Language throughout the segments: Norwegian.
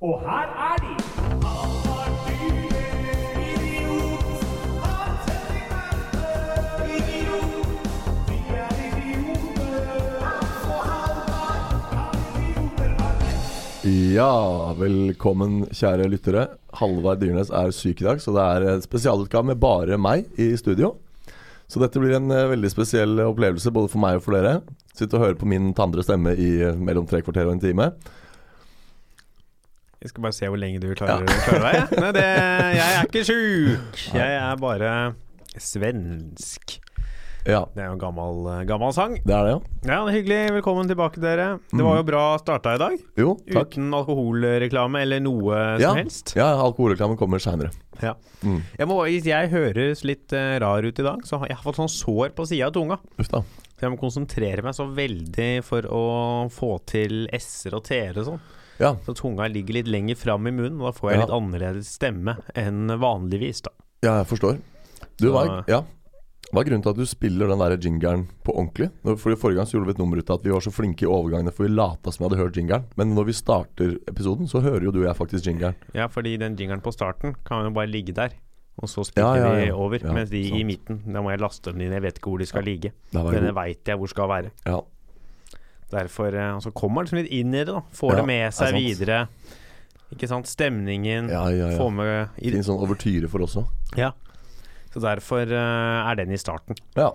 Og her er de! Ja, velkommen kjære lyttere. Halvard Dyrnes er syk i dag, så det er en spesialutgave med bare meg i studio. Så dette blir en eh, veldig spesiell opplevelse både for meg og for dere. Sitte og høre på min tandre stemme i eh, mellom tre kvarter og en time. Jeg skal bare se hvor lenge du klarer å klare deg. ja. Nei, det, jeg er ikke sjuk! Jeg er bare svensk. Ja, Det er jo en gammel, eh, gammel sang. det er det, Ja, Hyggelig. Velkommen tilbake, dere. Det var jo bra starta i dag. ja. Jo, Mm. takk. Uten alkoholreklame eller noe Ja, som helst. ja alkoholreklamen kommer seinere. Ja. Mm. Jeg, må, hvis jeg høres litt eh, rar ut i dag, så har jeg har fått sånn sår på sida av tunga. Uff da. Så jeg må konsentrere meg så veldig for å få til s-er og t-er og sånn. Ja. Så tunga ligger litt lenger fram i munnen, og da får jeg Ja. litt annerledes stemme enn vanligvis, da. ja, jeg forstår. Du, Så- hva er, ja. hva er grunnen til at du spiller den der jingeren på ordentlig? Når- Fordi Forrige gang så gjorde vi et nummer ut av at vi var så flinke i overgangene, for vi lata som vi hadde hørt jingeren. Men når vi starter episoden, så hører jo du og jeg faktisk jingeren. Ja, fordi den jingeren på starten kan jo bare ligge der, og så spiller Ja, ja, ja. de over. Ja, mens de i sant. midten, da må jeg laste den inn, jeg vet ikke hvor de skal ligge. Det var god. Denne veit jeg hvor skal være. Ja. Derfor, eh, og Så kommer han liksom litt inn i det, da. Ja, Får det med seg det er sant. videre. Ikke sant. Stemningen. Ja, ja, ja. Får med i, Fin sånn overtyre for også. Ja. Så derfor eh, er den i starten. Ja.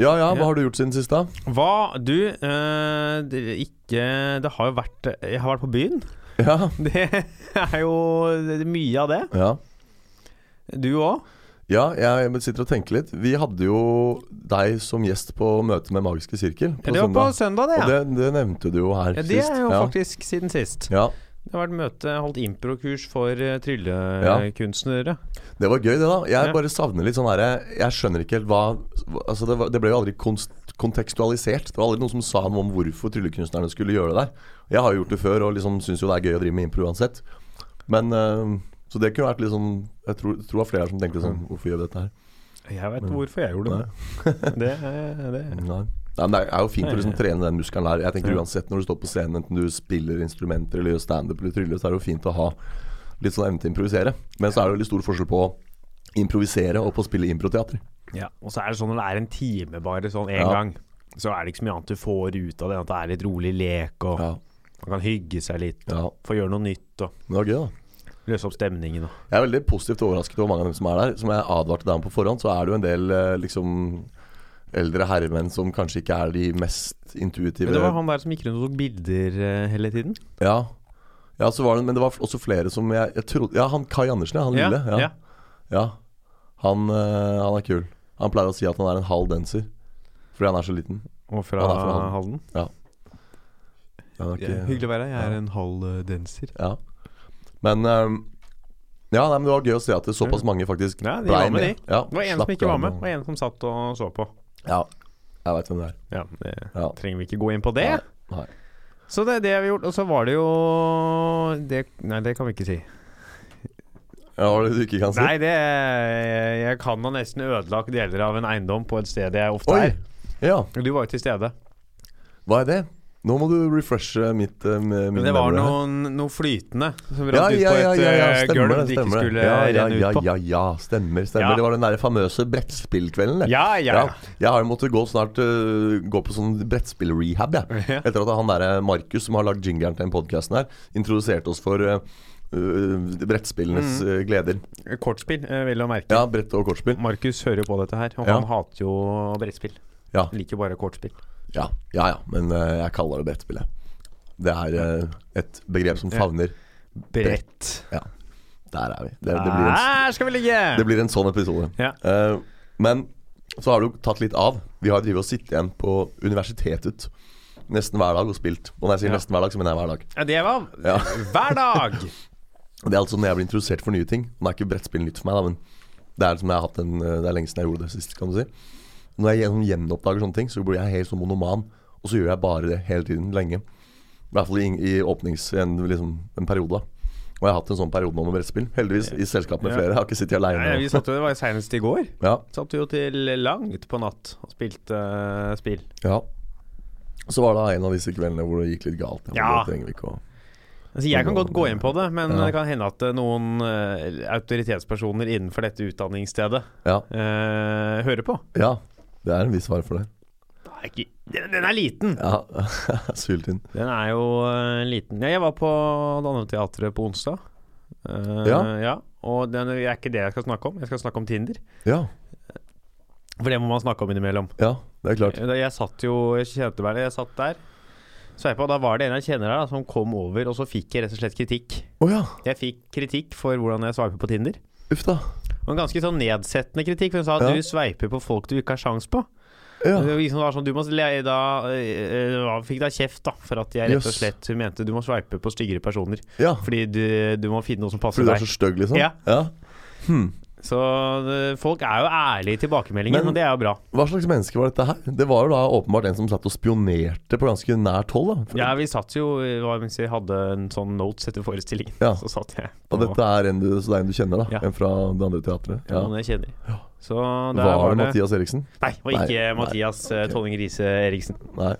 Ja ja, Ja. hva har du gjort siden sist, da? Hva du eh, det, Ikke Det har jo vært Jeg har vært på byen. Ja. Det er jo mye av det. ja. Du òg. Ja, jeg sitter og tenker litt. Vi hadde jo deg som gjest på møtet med Magiske sirkel på Det var på søndag. søndag, det. Og Ja. det, det nevnte du jo her Ja, det sist. er jo ja. faktisk siden sist. ja, Det har vært møte, holdt improkurs for eh, tryllekunstnere. Det var gøy, det, da. Jeg Ja. bare savner litt sånn herre Jeg skjønner ikke helt hva Altså, det, var, det ble jo aldri konst, kontekstualisert. Det var aldri noen som sa noe om hvorfor tryllekunstnerne skulle gjøre det der. Jeg har jo gjort det før og liksom syns jo det er gøy å drive med impro uansett. Men eh, Så det kunne vært litt sånn Jeg tror, tror det var flere her som tenkte sånn Hvorfor gjør vi dette her? Jeg veit hvorfor jeg gjorde Nei. det. Det, er- det. er- Nei. Nei, men det er jo fint å liksom Nei. trene den muskelen der. Jeg tenker Ja. Uansett når du står på scenen, enten du spiller instrumenter eller gjør standup eller tryller, så er det jo fint å ha litt sånn evne til å improvisere. Men så er det veldig stor forskjell på å improvisere og på å spille improteater. Ja. Og så er det sånn når det er en time bare sånn én Ja. gang, så er det ikke så mye annet du får ut av det enn at det er litt rolig lek, og Ja. man kan hygge seg litt, ja. få gjøre noe nytt, og Men det var gøy, da. løse opp stemningen. Og. Jeg er veldig positivt overrasket over mange av dem som er der. Som jeg advarte deg om på forhånd, så er det jo en del eh, liksom eldre herremenn som kanskje ikke er de mest intuitive. Men det var han der som gikk rundt og tok bilder eh, hele tiden. Ja, ja så var det, men det var også flere som jeg, jeg trodde Ja, han Kai Andersen, ja. Han lille. ja. Ja, han, eh, han er kul. Han pleier å si at han er en halv dancer. Fordi han er så liten. Og fra, Han er fra Halden. Han er ikke, Ja, hyggelig å være her. Jeg er en halv eh, danser. Ja. Men ehm, Ja, nei, men det var gøy å se at det såpass mange faktisk Ja, de blei var med, de. Ja, Det var en slapp som ikke var av med, og- og en som satt og så på. Ja, jeg veit hvem det er. Ja, det Ja. trenger vi ikke gå inn på det. Nei. Nei. Så det er det vi har gjort. Og så var det jo det, Nei, det kan vi ikke si. Ja, hva er det du ikke kan si? Nei, det Jeg kan ha nesten ødelagt deler av en eiendom på et sted jeg ofte Oi! er. Ja, Du var jo til stede. hva er det? Nå må du refreshe mitt eh, med, Men min det var memory her. noen, noe flytende som ja, rant ut ja, på ja, et ja, ja, eh, stemmer gulv det. det ikke Stemmer det. skulle eh, Ja, ja, renne ut ja, på. ja, ja, stemmer. stemmer. Ja. Det var den der famøse brettspillkvelden. det. Ja, ja. Ja. Jeg har jo måttet gå snart øh, Gå på sånn brettspill-rehab, jeg. Ja. Etter at han derre Markus, som har lagd jingeren til den podkasten her, introduserte oss for øh, øh, brettspillenes Mm. øh, gleder. Kortspill, eh, vel å merke. Ja, brett og kortspill. Markus hører jo på dette her, og Ja. han hater jo brettspill. Ja, Liker bare kortspill. ja, ja. ja. Men øh, jeg kaller det brettspill, jeg. Det er øh, et begrep som favner. Brett. Ja. Der er vi. Det, det, blir, en, Der skal vi ligge! det blir en sånn episode. Ah! Ja. Eh, men så har det jo tatt litt av. Vi har drevet og sittet igjen på universitetet nesten hver dag og spilt. Og når jeg sier Ja. nesten hver dag, så mener jeg hver dag. Ja, det var Ja. hver dag! Og Det er altså når jeg blir interessert for nye ting. Nå er ikke brettspill nytt for meg, da, men det er, liksom jeg har hatt en, eh, det er lenge siden jeg gjorde det sist. kan du si Når jeg gjennom gjenoppdager sånne ting, så blir jeg helt sånn monoman. Og så gjør jeg bare det hele tiden, lenge. I hvert fall i, i åpnings... En, liksom, en periode, da. Og jeg har hatt en sånn periode nå med brettspill. Heldigvis i selskap med Ja. flere. Jeg har ikke sittet Nei, vi aleine. satt jo, Det var senest i går. Ja, Satt jo til langt på natt og spilte eh, spill. ja. Så var det en av disse kveldene hvor det gikk litt galt. Ja, men Ja. Det trenger vi ikke å Altså, jeg kan godt gå inn på det, men Ja. det kan hende at eh, noen eh, autoritetspersoner innenfor dette utdanningsstedet Ja. eh, hører på. ja. Det er en viss fare for det. Det er ikke, den, den er liten! Ja, Syltynn. Den er jo eh, liten. Ja, jeg var på Danneteatret på onsdag. Eh, Ja. og det er ikke det jeg skal snakke om. Jeg skal snakke om Tinder. Ja, For det må man snakke om innimellom. ja, det er klart. Da jeg satt jo Jeg kjente meg Jeg satt der Sveipa, da var det en jeg kjenner her da, som kom over, og så fikk jeg rett og slett kritikk. Å ja. Jeg fikk kritikk for hvordan jeg sveiper på Tinder. Uff da. Og en ganske sånn nedsettende kritikk, for hun sa at Ja. du sveiper på folk du ikke har sjans på. Ja. Det var liksom var sånn, du må le- da, eh, eh, fikk da kjeft da, for at jeg rett og Jøss. slett mente du må sveipe på styggere personer. ja. Fordi du, du må finne noe som passer Fordi du er deg. så stygg, liksom? Ja. Hm. Så eh, folk er jo ærlige i tilbakemeldingen, Men- og det er jo bra. Hva slags menneske var dette her? Det var jo da åpenbart en som satt og spionerte på ganske nært hold. da For- Ja, vi satt jo eh, hva, mens vi hadde en sånn notes etter forestillingen. Ja. Så satt jeg Og dette er en du, så det er en du kjenner, da? Ja. En fra det andre teatret? ja. Ja. noen jeg kjenner. Så der Var, var, det det Mathias Eriksen? Nei, det var ikke Nei, nei, Mathias eh, ok. Tolling Riise Eriksen. Nei.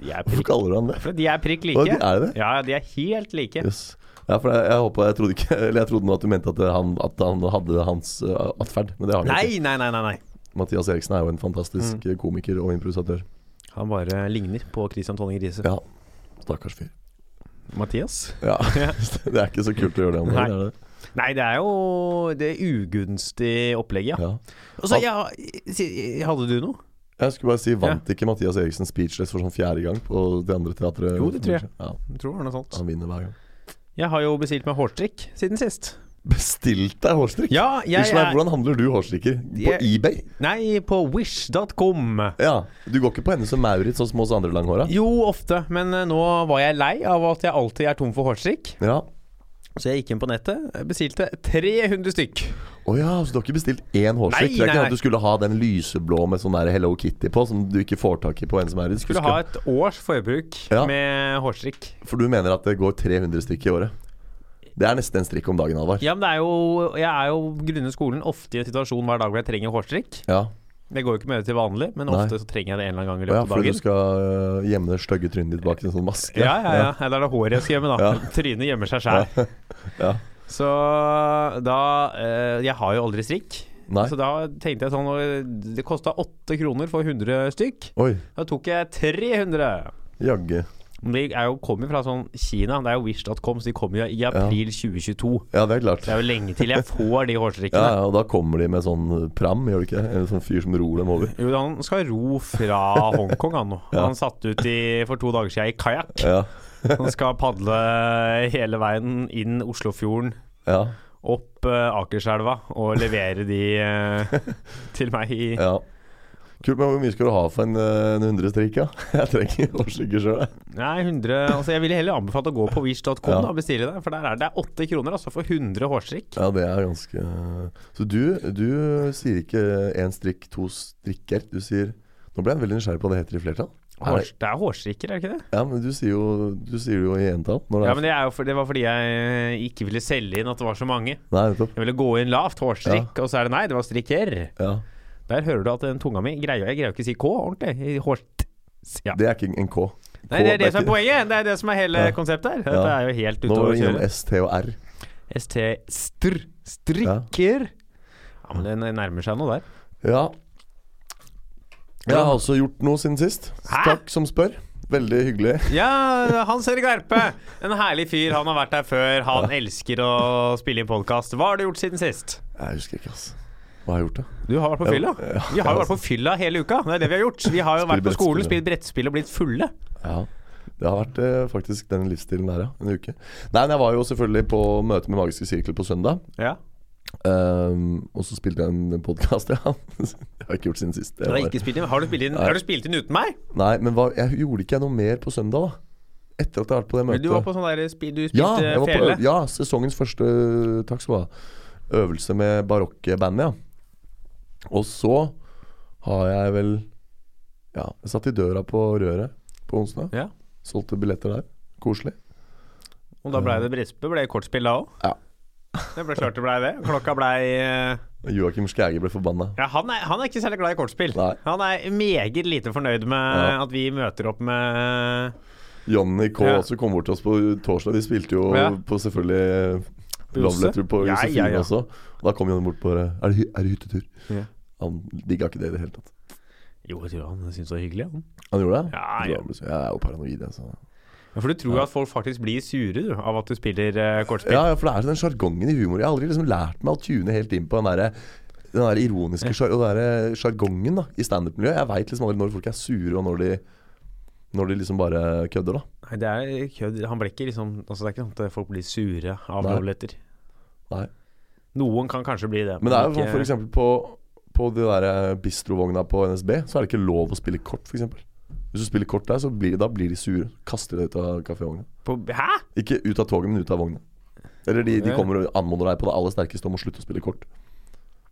De er Hvorfor prikk, kaller du han det? for de er prikk Å, de like. er det? Ja, de er helt like. Jøss. Ja, for jeg, jeg håpet- jeg trodde ikke Eller jeg trodde nå at du mente at han, at han hadde hans uh, atferd, men det har han ikke. Nei, Mm. nei, nei, nei. nei. Mathias Eriksen er jo en fantastisk eh, komiker og improvisatør. Han bare ligner på Christian Tolling Riise. Ja. Stakkars fyr. Mathias? Ja. det er ikke så kult å gjøre det om Nei. dagen, er det? Nei, det er jo det ugunstige opplegget, ja. Ja. Og så, ja, si- hadde du noe? Jeg skulle bare si, vant ikke Mathias Eriksen Speechless for sånn fjerde gang på det andre teatret? Jo, det tror jeg. Ja, Jeg tror det var noe sånt. han vinner hver gang. Jeg har jo bestilt meg hårstrikk siden sist. Bestilt deg hårstrikk? Ja, jeg Unnskyld meg, er hvordan handler du hårstrikker? På Jeg- eBay? Nei, på wish.com. Ja, Du går ikke på henne som Maurits og oss andre langhåra? Jo, ofte, men eh, nå var jeg lei av at jeg alltid er tom for hårstrikk. Ja. Så jeg gikk inn på nettet, jeg bestilte 300 stykk. Å ja, så du har ikke bestilt én hårstrikk? Nei, det er nei, ikke nei. at du skulle ha den lyseblå med sånn der Hello Kitty på, som du ikke får tak i på henne som Maurits? Skulle ha et års forbruk Ja. med hårstrikk. For du mener at det går 300 stykker i året? Det er nesten en strikk om dagen, Halvard. Ja, men det er jo, jeg er jo grunnet skolen ofte i en situasjon hver dag hvor jeg trenger hårstrikk. Ja. Det går jo ikke med det til vanlig, men Nei. ofte så trenger jeg det en eller annen gang Å i ja, løpet av fordi du dagen. skal øh, gjemme det stygge trynet ditt bak en sånn maske? Ja, ja, ja. Eller er det håret jeg skal gjemme, da. Ja. Trynet gjemmer seg sjæl. Ja. Så da eh, Jeg har jo aldri strikk. Nei. Så da tenkte jeg sånn og Det kosta åtte kroner for 100 stykk. Oi, Da tok jeg 300. jaggu. Men De er jo, kommer fra sånn Kina, det er jo wish.com, så de kommer jo i april 2022. Ja, det er klart. Det er jo lenge til jeg får de Ja, hårstrikkene. ja, og da kommer de med sånn pram, gjør de ikke det? En sånn fyr som ror dem over. Jo, han skal ro fra Hongkong, han nå. Han satt ut i, for to dager siden i kajakk. Ja, Han skal padle hele veien inn Oslofjorden, ja, opp eh, Akerselva, og levere de eh, til meg i ja. Kult, men hvor mye skal du ha for en, eh, en hundrestrikk, ja? Jeg trenger årslykke sjøl, jeg. Nei, 100 Altså, jeg ville heller anbefalt å gå på wish.com Ja. da, og bestille det. For der er det 8 kroner altså, for 100 hårstrikk. Ja, det er ganske Så du, du sier ikke én strikk, to strikker. Du sier Nå ble jeg veldig nysgjerrig på hva det heter i flertall. Er Hårs, det er hårstrikker, er det ikke det? det- Ja, men du sier jo, du sier det jo i entall. Når det Ja, er men det, er jo for, det var fordi jeg eh, ikke ville selge inn at det var så mange. Nei, nettopp. Jeg ville gå inn lavt, hårstrikk, og så er det nei, det var strikker. Ja. Der hører du at den tunga mi greier Jeg greier jo ikke å si K ordentlig. i Hårt... Ja. Det er ikke en K. Nei, det er det som er ikke- poenget! Det er det som er hele Ja. konseptet her. Ja. Dette er jo helt Nå ute var å du innom kjøre. S, T og R. ST str strikker. Ja, men det nærmer seg noe der. Ja. Jeg Ja. har også gjort noe siden sist. Hæ? Takk som spør. Veldig hyggelig. Ja, Hans Erik Verpe. En herlig fyr. Han har vært her før. Han elsker å spille inn podkast. Hva har du gjort siden sist? Jeg husker ikke, altså. Hva har jeg gjort, da? Du har vært på fylla. Ja, Vi har jo vært på fylla hele uka. Det er det vi har gjort. Vi har jo Spille vært på skolen, brettspill, ja. spilt brettspill og blitt fulle. Ja. Det har vært eh, faktisk den livsstilen der, ja. En uke. Nei, men jeg var jo selvfølgelig på møte med Magiske sirkel på søndag. Ja. Ehm, og så spilte jeg en podkast, ja. det har jeg ikke gjort siden sist. Det Har, var- ikke spilt inn. har, du spilt inn, har du spilt inn uten meg? Nei, men hva, jeg gjorde ikke jeg noe mer på søndag, da? Etter at jeg har vært på det møtet. Du var på sånn der spi- Du ja, spilte jeg var på, eh, fele. øv- ja, sesongens første eh, Takk skal du ha. Øvelse med barokkbandet, ja. Og så har jeg vel Ja, jeg satt i døra på Røret på onsdag. Ja. Solgte billetter der. Koselig. Og da blei det brettspill. Ble det kortspill da òg? Ja. Det ble klart det blei det. Klokka blei eh, Joakim Skæge ble forbanna. Ja, han er, han er ikke særlig glad i kortspill. Nei. Han er meget lite fornøyd med Ja. at vi møter opp med Johnny K Ja. også kom bort til oss på torsdag. Vi spilte jo Ja. på selvfølgelig eh, På Love Jose? Letter på Ja, Josefine ja, ja. også. Og da kom Johnny bort på Er det, hy- er det hyttetur? Ja. Han digga ikke det i det hele tatt. Jo, jeg tror han syntes det var hyggelig, han. Han gjorde det? Ja, Jeg tror ja. han ble sur. Jeg er jo paranoid, altså. jeg, så Ja, for du tror at folk faktisk blir sure du, av at du spiller eh, kortspill? Ja, ja, for det er den sjargongen i humor. Jeg har aldri liksom lært meg å tune helt inn på den derre den der ironiske sjar- og den der sjargongen da, i standup-miljøet. Jeg veit liksom aldri når folk er sure, og når de, når de liksom bare kødder, da. Nei, det er kødd. Han ble ikke liksom Altså, det er ikke sånn at folk blir sure av Nei. lovletter. Nei. Noen kan kanskje bli det. Men det er jo ikke- sånn for eksempel på, på de der bistrovogna på NSB, så er det ikke lov å spille kort, f.eks. Hvis du spiller kort der, så blir, da blir de sure. Kaster deg ut av kafévogna. på, Hæ?! Ikke ut av toget, men ut av vogna. Eller de, de Ja. kommer og anmoder deg på det aller sterkeste om å slutte å spille kort.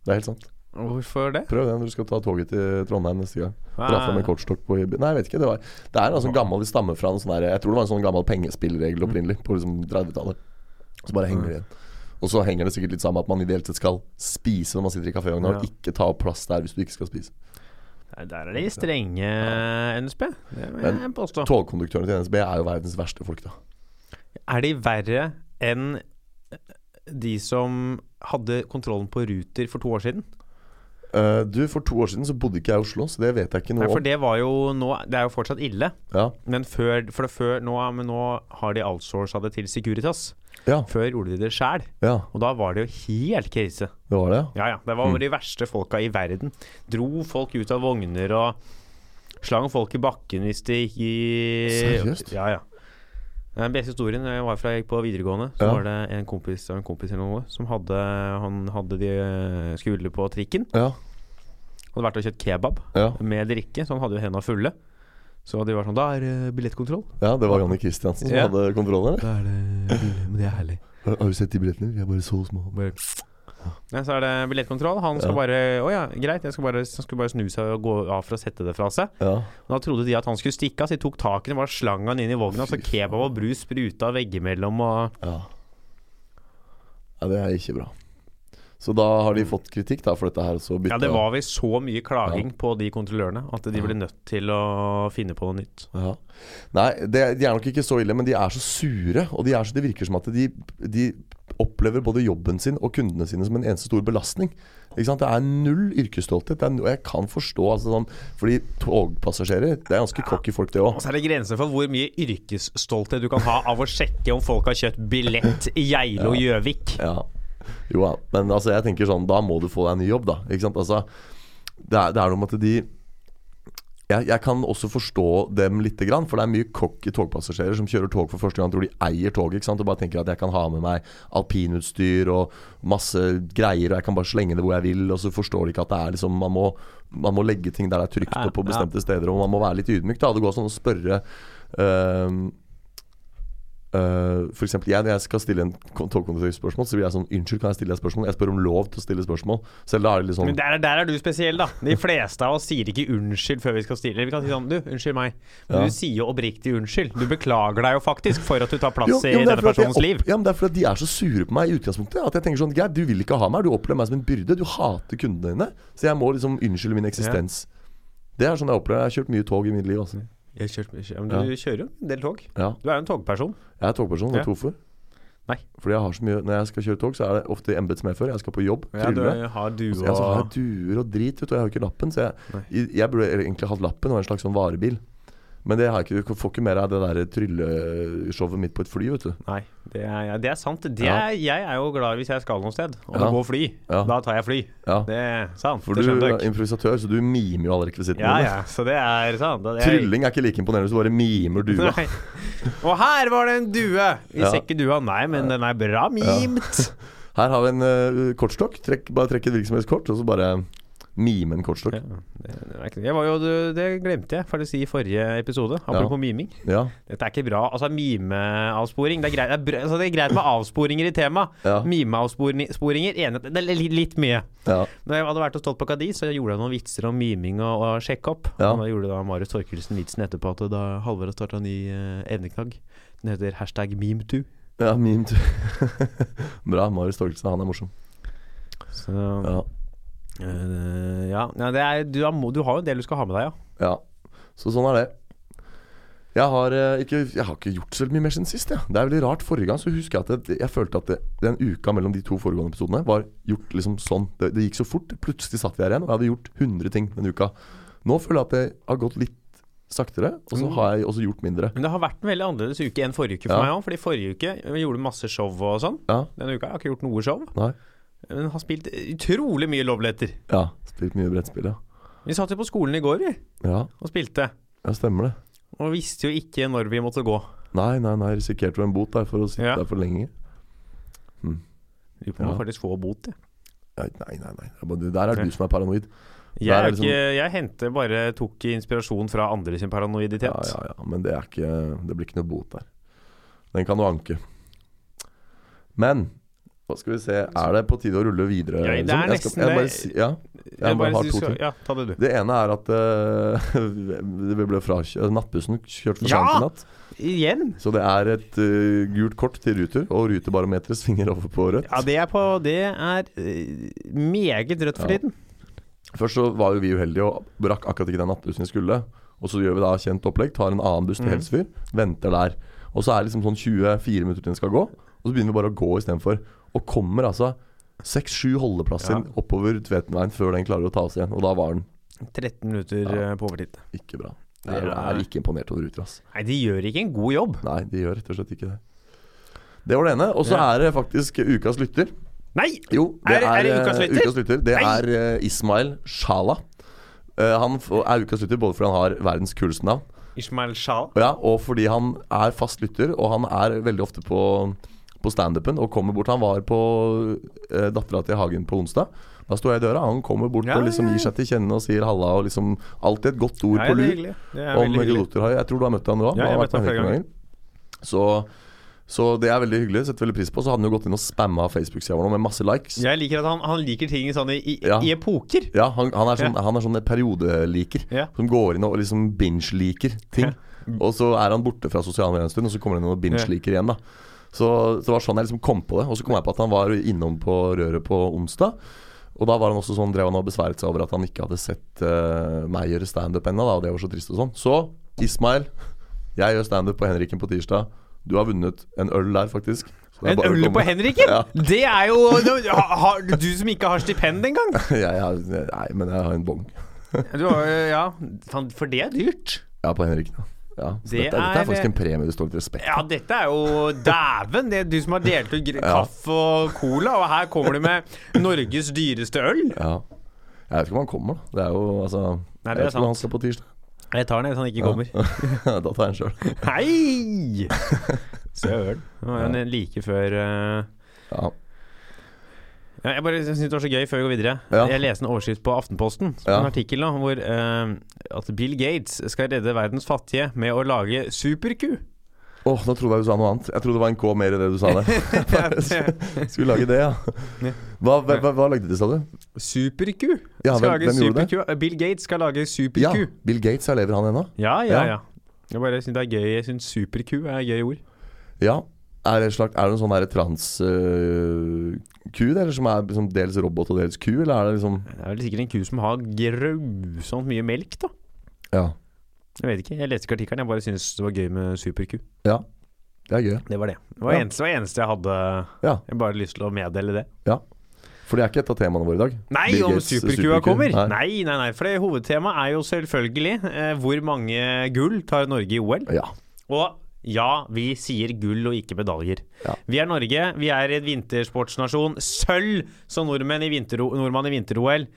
Det er helt sant. Hvorfor det? Prøv det når du skal ta toget til Trondheim neste gang. Dra fram en kortstokk på Nei, jeg vet ikke. Det, var, det er en sånn gammel Det stammer fra en sånn der Jeg tror det var en sånn gammel pengespillregel opprinnelig, på liksom 30-tallet. Så bare henger det igjen. Og så henger det sikkert litt sammen med at man ideelt sett skal spise når man sitter i kafévogna, og Ja. ikke ta opp plass der hvis du ikke skal spise. Nei, Der er de strenge, NSB. Det må jeg Men- påstå. Togkonduktørene til NSB er jo verdens verste folk, da. Er de verre enn de som hadde kontrollen på Ruter for to år siden? Eh, du, for to år siden så bodde ikke jeg i Oslo, så det vet jeg ikke Nei, noe for om. det var jo nå Det er jo fortsatt ille. Ja. Men før, for det før nå, men nå har de outsourca det til Securitas. Ja, Før gjorde de det sjæl, ja, og da var det jo helt krise. det var det, ja. Ja, ja. Det var de verste folka i verden. Dro folk ut av vogner og slang folk i bakken hvis de gikk i Seriøst? Ja, ja. Den beste historien jeg var fra jeg gikk på videregående, så Ja. var det en kompis av en kompis eller noe som hadde Han hadde de skulle på trikken. Ja, Hadde vært og kjøpt kebab ja, med drikke, så han hadde jo hendene fulle. Så de var sånn Da er det billettkontroll. ja det var Janne Christiansen som Ja. hadde kontrollen, eller? Da er det Men det er herlig. Har, har du sett de billettene? De er bare så små. Bare Nei, så er det billettkontroll. Han skal Ja. bare Å ja, greit. Jeg skal bare, han skulle bare snu seg og gå av for å sette det fra seg. Ja. Men Da trodde de at han skulle stikke av, så de tok taken og bare slang han inn i vogna. Så Fy faen. kebab og brus spruta veggimellom og Ja. ja, det er ikke bra. Så da har de fått kritikk da for dette her. Så bytta, Ja, det var visst så mye klaging på de kontrollørene at de ble nødt til å finne på noe nytt. Ja. Nei, det, de er nok ikke så ille, men de er så sure. Og de er så, det virker som at de, de opplever både jobben sin og kundene sine som en eneste stor belastning. Ikke sant? Det er null yrkesstolthet. Det er, no- og jeg kan forstå altså, sånn, Fordi togpassasjerer, det er ganske cocky folk, det Og òg. så er det grenser for hvor mye yrkesstolthet du kan ha av å sjekke om folk har kjøpt billett i Geilo Gjøvik. Ja. Jo da. Men altså, jeg tenker sånn, da må du få deg en ny jobb, da. Ikke sant? Altså, det, er, det er noe med at de jeg, jeg kan også forstå dem lite grann, for det er mye cocky togpassasjerer som kjører tog for første gang, tror de eier toget, ikke sant, og bare tenker at jeg kan ha med meg alpinutstyr og masse greier, og jeg kan bare slenge det hvor jeg vil, og så forstår de ikke at det er liksom Man må, man må legge ting der det er trygt, Ja, og på ja. bestemte steder, og man må være litt ydmyk, da. Det går sånn å spørre øhm, øh, for eksempel, jeg, når jeg skal stille en kon- togkonduktør spørsmål, så blir jeg sånn Unnskyld, kan jeg stille deg et spørsmål? Jeg spør om lov til å stille spørsmål. Selv da er det litt sånn Men der, er- der er du spesiell, da. De fleste av oss sier ikke unnskyld før vi skal stille. Vi kan si sånn Du, unnskyld meg. Men Ja. du sier jo oppriktig unnskyld. Du beklager deg jo faktisk for at du tar plass Jo, jo, i men det er denne fordi at jeg personens opp- liv. Ja, men Det er fordi at de er så sure på meg i utgangspunktet. At jeg tenker sånn, Geir, du vil ikke ha meg. Du opplever meg som en byrde. Du hater kundene dine. Så jeg må liksom unnskylde min eksistens. Det er sånn jeg opplever det. Jeg har kjørt mye tog i mitt liv. Altså. Jeg kjørte, ja, men du kjører jo en del tog. Ja, Du er jo en togperson. Jeg er togperson. Vet Ja. du hvorfor? Nei. Fordi jeg har så mye Når jeg skal kjøre tog, så er det ofte embetsmedfør. Jeg skal på jobb, trylle. du har du Så jeg så har jeg duer og drit, vet du, og jeg har jo ikke lappen. Så jeg, jeg, burde egentlig hatt lappen og en slags sånn varebil. Men det har jeg ikke, du får ikke mer av det der trylleshowet mitt på et fly, vet du. Nei, det er, ja, det er sant. Det Ja. er, jeg er jo glad hvis jeg skal noe sted, og Ja. det går fly. Ja. Da tar jeg fly. Ja. Det er sant. For det du skjønner er dere. improvisatør, så du mimer jo alle rekvisittene. Ja, dine. ja, så det er sant. Det er, Trylling er ikke like imponerende hvis du bare mimer dua. Nei. Og her var det en due! Vi Ja. ser ikke dua, nei, men den er bra mimt. Her har vi en eh, kortstokk. Trekk, bare trekk et virksomhetskort, og så bare mime en kortstokk. Ja, det, det, er ikke, jeg var jo, det, det glemte jeg faktisk i forrige episode, apropos miming. Ja. Dette er ikke bra. Altså, mimeavsporing Det er greit, det er, br- altså, det er greit med avsporinger i temaet. Ja. Mimeavsporinger enig, Det er li- litt mye. ja. Når jeg hadde vært og stått på Kadis, så gjorde jeg noen vitser om miming og, og sjekke opp. Ja. Og Da gjorde da Marius Torkelsen vitsen etterpå at da Halvor har starta ny eh, evneknagg. Den heter hashtag memetoo. ja meme tur. Bra. Marius Torkelsen, han er morsom. Så Ja. eh, ja. ja det er, du, har, må- du har jo en del du skal ha med deg, ja. ja. Så sånn er det. Jeg har, eh, ikke, jeg har ikke gjort så mye mer siden sist. Ja. Det er veldig rart. Forrige gang så husker jeg at jeg, jeg følte at det, den uka mellom de to foregående episodene var gjort liksom sånn. Det, det gikk så fort. Plutselig satt vi her igjen, og jeg hadde gjort 100 ting den uka. Nå føler jeg at det har gått litt saktere, og så har jeg også gjort mindre. Men det har vært en veldig annerledes uke enn forrige uke for Ja. meg òg. Fordi forrige uke jeg gjorde masse show og sånn. Ja. Denne uka har jeg ikke gjort noe show. Nei. Men har spilt utrolig mye loveletter. Ja. Spilt mye brettspill, ja. Vi satt jo på skolen i går, vi, Ja, og spilte. ja stemmer det. Og visste jo ikke når vi måtte gå. Nei, nei, nei. Risikerte jo en bot der for å sitte Ja. der for lenge. Lurer på om Ja. jeg faktisk får bot, jeg. Ja, Nei, nei, nei. Det er bare- det Der er Ja. du som er paranoid. Jeg, Der er sånn- er det ikke, jeg henter bare tok inspirasjon fra andre sin paranoiditet. Ja, ja, ja. Men det, er ikke, det blir ikke noe bot der. Den kan du anke. Men hva skal vi se Er det på tide å rulle videre? Ja, det er liksom? jeg nesten jeg det. bare si- ja. Jeg Jeg bare bare har to synes du skal- ting. Ja, ta det, du. Det ene er at eh, vi ble frakjørt Nattbussen kjørte for sent Ja! i natt. Igjen? Så det er et eh, gult kort til Ruter, og Ruterbarometeret svinger over på rødt. Ja, det er på Det er eh, meget rødt for Ja. tiden. Først så var jo vi uheldige og rakk akkurat ikke den nattbussen vi skulle. Og så gjør vi da kjent opplegg, tar en annen buss til Mhm. Helsfyr, venter der. Og så er det liksom sånn 24 minutter til den skal gå, og så begynner vi bare å gå istedenfor. Og kommer altså seks-sju holdeplasser Ja. oppover Tvetenveien før den klarer å ta oss igjen. Og da var den 13 minutter Ja. eh, på overtid. ikke bra. Det Jeg er- er ikke imponert over Ruter, ass. Nei, de gjør ikke en god jobb. Nei, de gjør rett og slett ikke det. Det var det ene. Og så Ja. er det faktisk ukas lytter. Nei! Jo, det Er- er, er det eh, ukas lytter? Det Nei! er eh, Ismail Shala. Eh, han f- er ukas lytter både fordi han har verdens kuleste navn, Ishmael Shah. og, ja, og fordi han er fast lytter. Og han er veldig ofte på, på standupen og kommer bort. Han var på uh, Dattera til Hagen på onsdag. Da sto jeg i døra. Han kommer bort Ja, og liksom ja, ja. gir seg til kjenne og sier halla. Og liksom alltid et godt ord Ja, på det er lur hyggelig. Det er om veldig hyggelig. idioter. Jeg tror du har møtt han nå. Ja, Han jeg har har vært møtt han med flere flere ganger. Så, så det er veldig hyggelig. Setter veldig pris på. Så hadde han jo gått inn og spamma Facebook-sida vår nå med masse likes. Jeg liker at han, han liker ting sånn i, i, Ja. i epoker. Ja, han, han er sånn, han er sånn en periodeliker. Ja. Som går inn og liksom binge-liker ting. Ja. Og så er han borte fra sosiale medier en stund, og så kommer han inn og binge-liker igjen. da så, så det var sånn jeg liksom kom på det. Og så kom jeg på at han var innom på Røret på onsdag. Og da var han også sånn, drev han og besværet seg over at han ikke hadde sett eh, meg gjøre standup ennå, da, og det var så trist og sånn. Så Ismail, jeg gjør standup på Henriken på tirsdag. Du har vunnet en øl der, faktisk. Så det er En bare å øl på komme. Henriken? Ja. Det er jo ha, har- Du som ikke har stipend engang. Jeg har, nei, men jeg har en bong. Du har jo- Ja, faen, for det er dyrt. Ja, på Henriken, ja. ja. Så dette, Det er, dette er- er faktisk en premie det står litt respekt Ja, dette er jo dæven. Det er du som har delt ut gr- Ja. kaffe og cola, og her kommer du med Norges dyreste øl. Ja. Jeg vet ikke om han kommer, da. Det er jo altså Nei, det Jeg er vet ikke om sant. han skal på tirsdag. Jeg tar den hvis han ikke kommer. Ja, da tar jeg den sjøl. Hei! Søren. Det var jo en like før eh, Ja. ja, Jeg bare syns det var så gøy før vi går videre. Ja. Jeg leste en overskrift på Aftenposten, Ja. en artikkel nå, hvor eh, at Bill Gates skal redde verdens fattige med å lage super-Q. Åh, nå trodde jeg du sa noe annet. Jeg trodde det var en K mer i det du sa der. Skulle lage det, ja. Hva, hva, hva, hva lagde de, sa du? Super-Q? Ja, Skal hvem, lage hvem gjorde det? super-Q. Bill Gates skal lage Ja, super-Q. Bill Gates, ja, lever han ennå? Ja, ja, Ja. ja. Jeg bare syns det er gøy. Jeg syns super-Q er et gøy ord. Ja. Er det, en slags, er det en sånn trans-ku, eller som er liksom dels robot og dels ku, eller er det liksom Det er vel sikkert en ku som har grusomt mye melk, da. Ja. Jeg vet ikke. Jeg leste ikke artikkelen, jeg bare syns det var gøy med super-Q. Ja. Det er gøy. Det var det. Det var Ja. eneste, det var eneste jeg hadde. Ja. Jeg bare lyst til å meddele det. For det er ikke et av temaene våre i dag. Nei, Bill om Gates, super-Q-a super-Q. kommer! Nei. Nei, nei, nei. For det hovedtemaet er jo selvfølgelig eh, hvor mange gull tar Norge i OL. Ja. Og ja, vi sier gull og ikke medaljer. Ja. Vi er Norge. Vi er en vintersportsnasjon. Sølv som nordmenn i vinter nordmann i vinter-OL,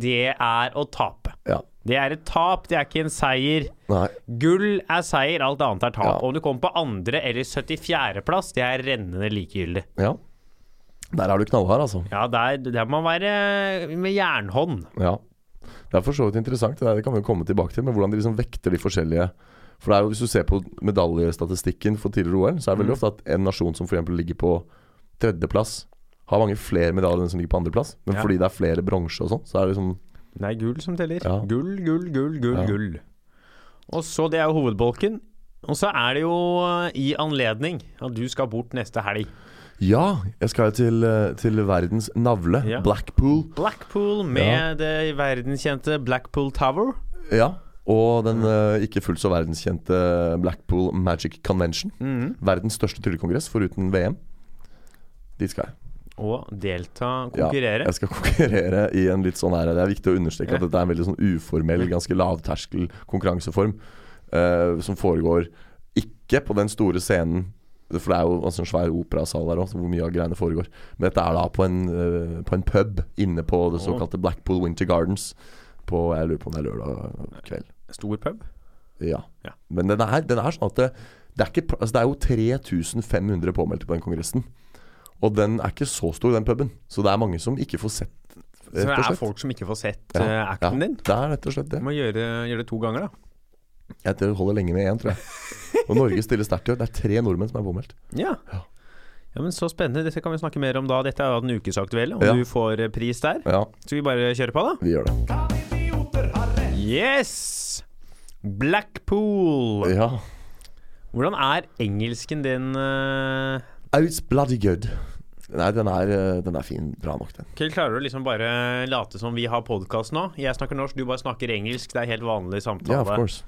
det er å tape. ja. Det er et tap, det er ikke en seier. Nei. Gull er seier, alt annet er tap. Ja. Om du kommer på andre eller 74. plass, det er rennende likegyldig. Ja. Der er du knallhard, altså. Ja, der, der må man være med jernhånd. Ja. Det er for så vidt interessant. Det, der, det kan vi jo komme tilbake til, men hvordan de liksom vekter de forskjellige For det er jo, Hvis du ser på medaljestatistikken for tidligere OL, så er det veldig ofte at en nasjon som f.eks. ligger på tredjeplass, har mange flere medaljer enn den som ligger på andreplass. Men Ja. fordi det er flere bronse og sånn, så er det liksom Det er gull som teller. Ja. Gull, gull, gull, gull, Ja. gull. Og så, det er jo hovedbolken. Og så er det jo eh, i anledning at du skal bort neste helg. Ja, jeg skal jo til, eh, til verdens navle, Ja. Blackpool. Blackpool med det verdenskjente Blackpool Tower. Ja. Og den eh, ikke fullt så verdenskjente Blackpool Magic Convention. Mhm. Verdens største tryllekongress foruten VM. Dit skal jeg. Og delta, Ja, konkurrere. jeg skal konkurrere i en litt sånn her Det er viktig å understreke at Ja. dette er en veldig sånn uformell, ganske lavterskel konkurranseform. eh, som foregår ikke på den store scenen, for det er jo altså en svær operasal der òg, hvor mye av greiene foregår. Men dette er da på en, eh, på en pub inne på det Å. såkalte Blackpool Winter Gardens. På, jeg lurer på om det er lørdag kveld. Stor pub. Ja. Ja. Men den er, den er sånn at det, det, er ikke, pl- altså det er jo 3500 påmeldte på den kongressen. Og den er ikke så stor, den puben. Så det er mange som ikke får sett Så det rett og er slett. folk som ikke får sett Ja, eh, ja, acten din. Det er rett og slett det. Du må gjøre, gjøre det to ganger, da. Jeg tror det holder lenge med én, tror jeg. Og Norge stiller sterkt i år. Det er tre nordmenn som er påmeldt. Ja. Ja. ja, men så spennende. Dette kan vi snakke mer om da. Dette er jo den ukesaktuelle, og Ja. du får eh, pris der. Ja, Skal vi bare kjøre på, da? vi gjør det. Yes! Blackpool. Ja. Hvordan er engelsken din, eh, Oh, it's bloody good. Nei, den er, eh, den er fin. Bra nok, den. Kjell, klarer du liksom bare late som vi har podkast nå? Jeg snakker norsk, du bare snakker engelsk. Det er helt vanlig samtale. Yeah, of course. Kult.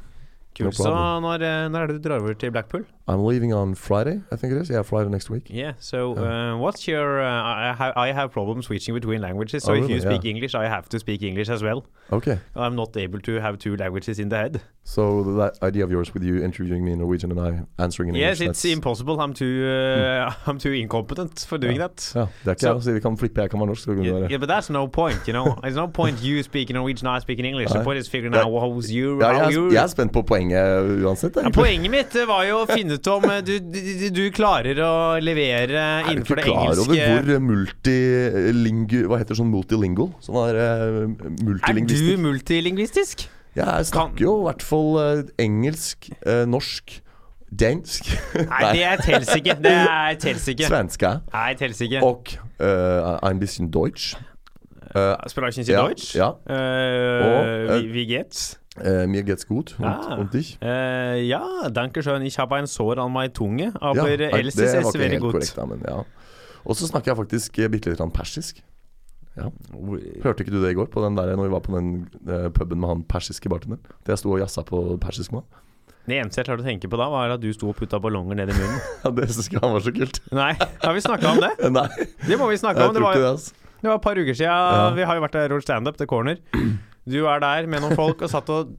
No Så når, eh, når er det du drar over til Blackpool? I'm leaving on Friday, I think it is. Yeah, Friday next week. Yeah, so uh, what's your... Uh, I, have, I have problems switching between languages, so Oh, if really? you speak Yeah. English, I have to speak English as well. Okay. I'm not able to have two languages in the head. So that idea of yours with you interviewing me in Norwegian and I answering in yes, English it's that's- impossible. I'm too, uh, I'm too incompetent for doing Yeah. that. Ja, det er ikke Så- jeg som sier vi kan flippe, jeg kan være norsk. Så kan du Yeah, være. yeah, but that's no point, you know. There's no point you speaking Norwegian, I speaking English. The Nei. point is figuring Ja. out how's you, Ja, how jeg, you... er- jeg er spent på poenget uansett. Ja, Jeg. poenget mitt eh, var jo å finne ut om eh, du, du, du klarer å levere er du innenfor ikke det klar engelske over hvor multilingu... Hva heter sånn multilingual? Sånn der eh, Er du multilingvistikk. multilingvistisk? Ja, jeg Kan- snakker jo i hvert fall eh, engelsk, eh, norsk, dansk Nei, det er tels ikke. Det er tels ikke. svenska Nei, tels ikke. og eh, ein bisschen deutsch. Eh, Sprachen Sie ja, Deutsch? ja. Äh, Og, eh, wie, wie geht's? eh, mir geht's gut. Und, Ah. und dich? Äh, ja, danke schön. Ich habe ein Sår an meiner Tunge, Ja, aber nei, ellers det ist var es ikke veldig helt godt. korrekt. Da, men, ja. Og så snakker jeg faktisk eh, bitte litt grann persisk. Hvor- Hørte ikke du det i går, på den der, når vi var på den eh, puben med han persiske bartenderen? Det jeg sto og jazza på persisk med han. Det eneste jeg klarte å tenke på da, var at du sto og putta ballonger ned i munnen. Ja, det syns ikke han var så kult. Nei, har vi snakka om det? Nei, Det må vi snakke jeg om. Det tror var, ikke det, det altså. var et par uker siden. Ja. Vi har jo vært der og gjort standup, The Corner. Du er der med noen folk og satt og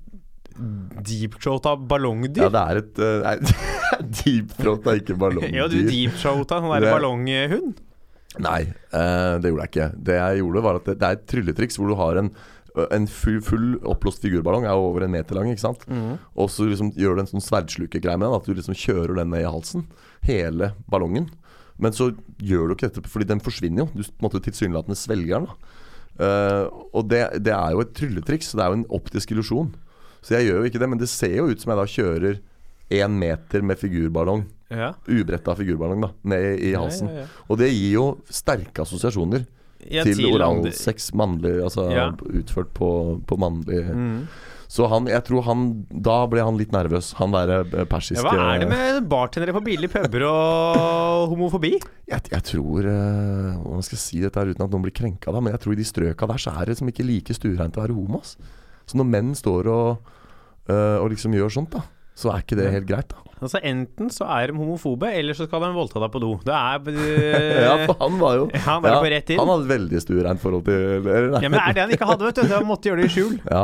deepthroata Ja, ballongdyr. det er et eh, nei, Deep throat er ikke ballongdyr. Ja, du deepthroata en sånn der Det- ballonghund. Nei, eh, det gjorde jeg ikke. Det jeg gjorde, var at det, det er et trylletriks hvor du har en en full, full oppblåst figurballong er jo over en meter lang, ikke sant. Mhm. Og så liksom gjør du en sånn sverdslukegreie med den, at du liksom kjører den ned i halsen. Hele ballongen. Men så gjør du ikke dette, fordi den forsvinner jo. Du på en måte tilsynelatende svelger den. da. Eh, og det, det er jo et trylletriks. Det er jo en optisk illusjon. Så jeg gjør jo ikke det, men det ser jo ut som jeg da kjører én meter med figurballong. Ja. Ubretta figurballong, da. Ned i, i halsen. Ja, ja, ja. Og det gir jo sterke assosiasjoner Ja, til andre- oralsex mannlig, altså Ja. utført på, på mannlig Mm. Så han, jeg tror han Da ble han litt nervøs, han derre eh, persiske Ja, hva er det med bartendere på billige puber og homofobi? Jeg, jeg tror eh, Hvordan skal jeg si dette her uten at noen blir krenka, da, men jeg tror i de strøka der så er det liksom ikke like stuereint å være homo. ass. Så når menn står og, eh, og liksom gjør sånt, da, så er ikke det helt greit, da. Altså Enten så er de homofobe, eller så skal de voldta deg på do. Det er Ja, for han var jo Han var jo på rett inn. Han hadde et veldig stuereint forhold til eller, nei. Ja, men det er det han ikke hadde, vet du. Så han måtte gjøre det i skjul. Ja.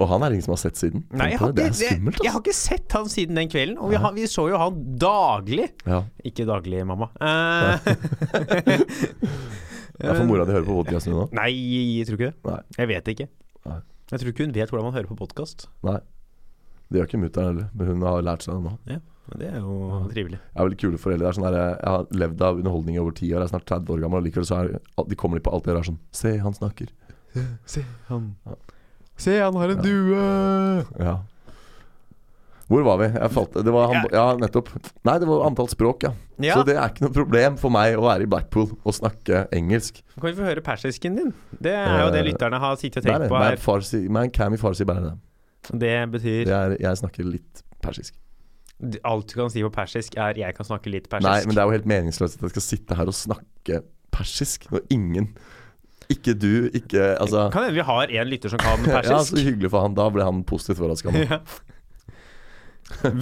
Og han er det ingen som har sett siden. Nei, jeg Tenk har, på det, ikke, det er skummelt, jeg, jeg har altså. ikke sett han siden den kvelden. Og vi, har, vi så jo han daglig. Ja. Ikke daglig, mamma. Eh, Jeg får mora di høre på podkasten nå. nei, jeg tror ikke det. Nei. Jeg vet ikke. Nei. Jeg tror ikke hun vet hvordan man hører på podkast. Nei. Det gjør ikke mutter'n heller, men hun har lært seg det nå. Det er jo trivelig. Jeg er veldig kule foreldre. Det er sånn der, jeg har levd av underholdning i over ti år, jeg er snart 30 år gammel, og likevel så er, de kommer de på alt det der sånn Se, han snakker. Se, han Se, han har en due! Ja. Hvor var vi? Jeg falt, det var han, ja, nettopp. Nei, det var antall språk, ja. Ja, Så det er ikke noe problem for meg å være i Blackpool og snakke engelsk. Kan vi få høre persisken din? Det er jo det Eh, lytterne har sittet Det og er tenkt det. på Men her. farsi, men Cami farsi bare det. Det betyr Det er, jeg snakker litt persisk. Alt du kan si på persisk, er 'jeg kan snakke litt persisk'. Nei, men det er jo helt meningsløst at jeg skal sitte her og snakke persisk når ingen Ikke du, ikke Altså Kan hende vi har en lytter som kan ja, så persisk. hyggelig for han. Da ble han positivt overraska. nå. Ja.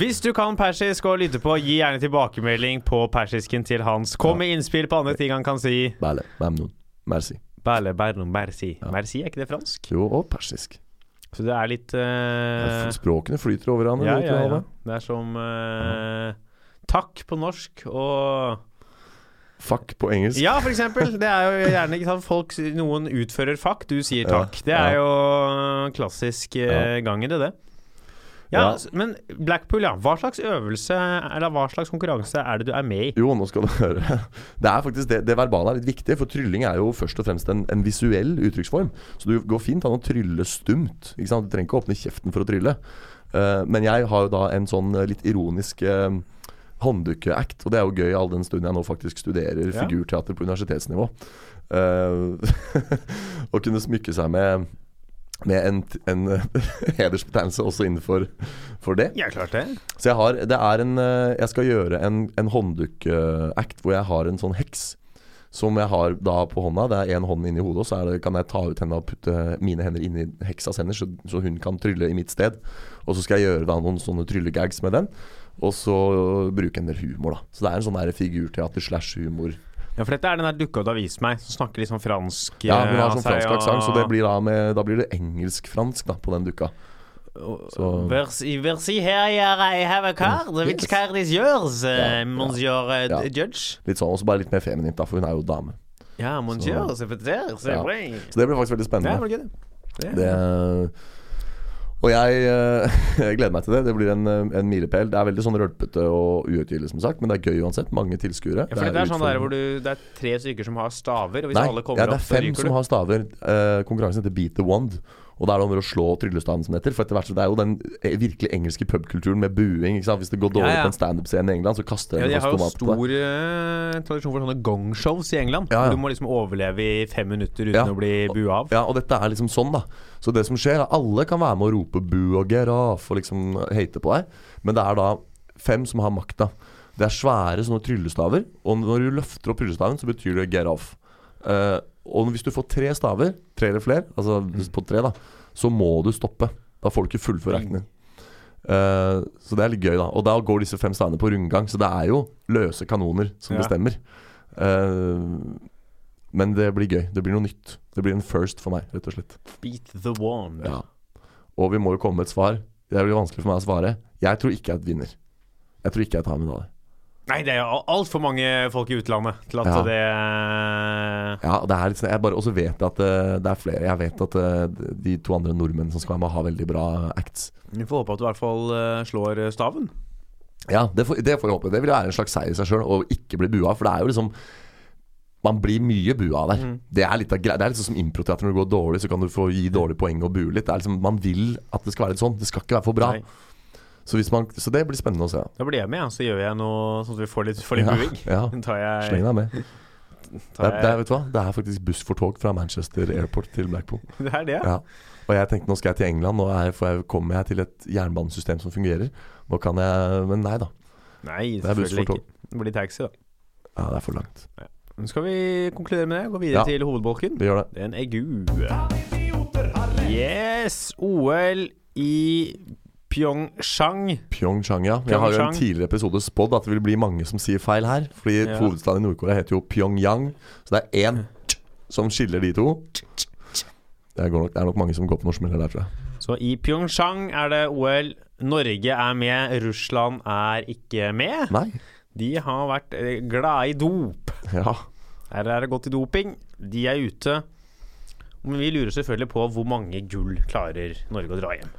Hvis du kan persisk og lytter på, gi gjerne tilbakemelding på persisken til Hans. Kom med innspill på andre ting han kan si. Bæle, mamnun, merci. Bæle, bæle, merci. Ja. Merci, er ikke det fransk? Jo, og persisk. Så det er litt eh, Språkene flyter over hverandre. Ja, vet du ja, hva ja. det er? Det er som eh, takk på norsk og Fuck på engelsk. Ja, for eksempel. Det er jo gjerne ikke sant folk Noen utfører fuck, du sier Ja, takk. Det er ja. jo klassisk eh, gang i det, det. Ja, Ja. s- men Blackpool, ja. Hva slags øvelse eller hva slags konkurranse er det du er med i? Jo, nå skal du høre. Det er faktisk det, det verbale er litt viktig, for trylling er jo først og fremst en, en visuell uttrykksform. Så du går fint an å trylle stumt. Ikke sant? Du trenger ikke åpne kjeften for å trylle. Eh, men jeg har jo da en sånn eh, litt ironisk uh, hånddukkeact, og det er jo gøy all den stund jeg nå faktisk studerer Ja. figurteater på universitetsnivå. Eh, å kunne smykke seg med med en, t- en hedersbetegnelse også innenfor for det. Ja, klart det. Så jeg har, det er en eh, Jeg skal gjøre en, en hånddukk-act hvor jeg har en sånn heks. Som jeg har da på hånda. Det er én hånd inni hodet, og så er det, kan jeg ta ut henda og putte mine hender inni heksas hender, så, så hun kan trylle i mitt sted. Og så skal jeg gjøre da noen sånne tryllegags med den. Og så bruke en del humor, da. Så det er en sånn der figurteater slash humor. Ja, For dette er den der dukka du har vist meg, som snakker litt sånn fransk. Ja, eh, hun har av sånn seg, fransk og- aksent, så det blir da, med, da blir det engelsk-fransk da på den dukka. og- så- Versi, versi her, I have a card, which Mm. Yes. card is yours, eh, Ja, ja, monsieur eh, ja. judge? Litt sånn, Og så bare litt mer feminint, da, for hun er jo dame. Ja, monsieur, secrétaire, c'est Ja. vrai. Så det blir faktisk veldig Ja, spennende. var det ikke det? Det- Det Og jeg, eh, jeg gleder meg til det. Det blir en, eh, en milepæl. Det er veldig sånn rølpete og uutgivelig, som sagt, men det er gøy uansett. Mange tilskuere. Ja, for det er sånn der utfordrende. hvor du, det er tre stykker som har staver, og hvis Nei, alle ja, kommer det er opp, så fem ryker som du. har staver. Eh, konkurransen heter Beat the Wand. Og da er det om å gjøre å slå tryllestaven som det heter. For etter hvert så det er jo den eh, virkelig engelske pubkulturen med buing. Ikke sant? Hvis det går dårlig Ja, ja. på en standup-scene i England, så kaster Ja, de de en har flaske jo tomat på deg. stor eh, tradisjon for sånne gongshows i England. Ja, ja. Du må liksom overleve i fem minutter uten Ja. å bli bua av. Ja, og dette er liksom sånn, da. Så det som skjer, er alle kan være med å rope 'boo' og 'get off' og liksom hate på deg, men det er da fem som har makta. Det er svære sånne tryllestaver, og når du løfter opp tryllestaven, så betyr det 'get off'. Eh, og hvis du får tre staver, tre eller flere, altså Mm. hvis på tre, da, så må du stoppe. Da får du ikke fullføre acten din. Eh, så det er litt gøy, da. Og da går disse fem stavene på rundgang, så det er jo løse kanoner som Ja. bestemmer. Eh, men det blir gøy. Det blir noe nytt. Det blir en first for meg, rett og slett. Beat the wand. Ja. Og vi må jo komme med et svar. Det blir vanskelig for meg å svare. Jeg tror ikke jeg vinner. Jeg tror ikke jeg tar medalje. Nei, det er jo altfor mange folk i utlandet til at Ja. det eh, Ja, det er litt sånn, jeg bare, Og så vet jeg at eh, det er flere. Jeg vet at eh, de to andre nordmennene som skal være med, har veldig bra acts. Vi får håpe at du i hvert fall eh, slår eh, staven. Ja, det får, det får jeg håpe. Det vil være en slags seier i seg sjøl å ikke bli bua. For det er jo liksom Man blir mye bua der. Mm. Det er litt av grei- Det er litt sånn som improteater. Når det går dårlig, så kan du få gi dårlige poeng og bue litt. Det er liksom, man vil at det skal være litt sånn. Det skal ikke være for bra. Nei. Så, hvis man, så det blir spennende å se. Da blir jeg med, ja, så gjør jeg noe sånn at vi får litt, får litt Ja, buing. ja. Tar jeg, Sleng deg med. Det tar er, det, er, jeg, vet du hva? det er faktisk buss for tog fra Manchester Airport til Blackpool. det er det, ja. Ja. Og jeg tenkte nå skal jeg til England, nå er, får jeg, kommer jeg til et jernbanesystem som fungerer. Nå kan jeg Men nei da. Nei, Det er buss selvfølgelig for ikke. Det blir taxi, da. Ja, det er for langt. Nå skal vi konkludere med det. Gå Ja. videre til hovedbolken. Vi gjør det. Den er god. Yes! OL i Pyeongchang. Pyeongchang, ja. Jeg har jo en Pyeongchang. tidligere episode spådd at det vil bli mange som sier feil her. Fordi Ja. hovedstaden i Nord-Korea heter jo Pyongyang. Så det er én som skiller de to. Det, går nok, det er nok mange som går på noen smeller der, tror jeg. Så i Pyeongchang er det OL. Norge er med, Russland er ikke med. Nei. De har vært eh, glade i dop. Ja. Her er det godt i doping. De er ute. Men vi lurer selvfølgelig på hvor mange gull klarer Norge å dra hjem.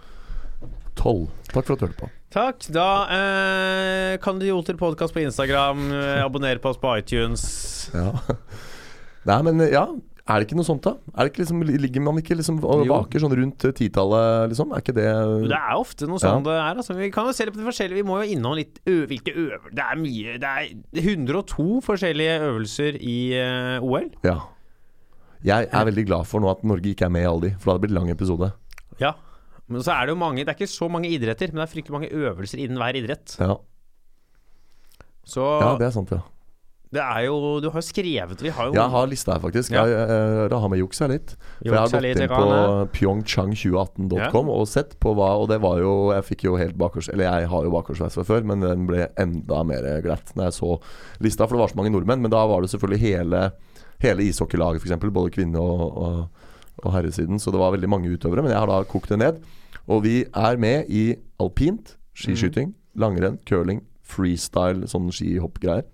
Tolv. Takk for at du hørte på. Takk. Da eh, kan du joter podkast på Instagram. Eh, abonner på oss på iTunes. Ja. Nei, men ja. Er det ikke noe sånt, da? Er det ikke liksom, ligger man ikke liksom og Jo. vaker sånn rundt eh, titallet, liksom? Er ikke det Det er ofte noe sånn det er. Altså. Vi kan jo se litt på de forskjellige Vi må jo innom litt ø hvilke øvelser Det er mye Det er 102 forskjellige øvelser i eh, OL. Ja. Jeg er veldig glad for nå at Norge ikke er med i alle de, for da hadde det blitt lang episode. Ja. Men så er det jo mange Det er ikke så mange idretter, men det er fryktelig mange øvelser innen hver idrett. Ja, Så ja det er sant, ja. Det er jo, du har jo skrevet Vi har jo Jeg har lista her, faktisk. Ja. Jeg, eh, det har med juks her litt. For jeg har Juks er gått litt, inn jeg på kan pyeongchang2018.com og sett på hva Og det var jo Jeg fikk jo helt bakgårds... Eller jeg har jo bakgårdsveis fra før, men den ble enda mer glatt når jeg så lista, for det var så mange nordmenn. Men da var det selvfølgelig hele, hele ishockeylaget, f.eks. Både kvinne- og, og, og herresiden. Så det var veldig mange utøvere. Men jeg har da kokt det ned. Og vi er med i alpint, skiskyting, Mm. langrenn, curling, freestyle, sånn skihoppgreier.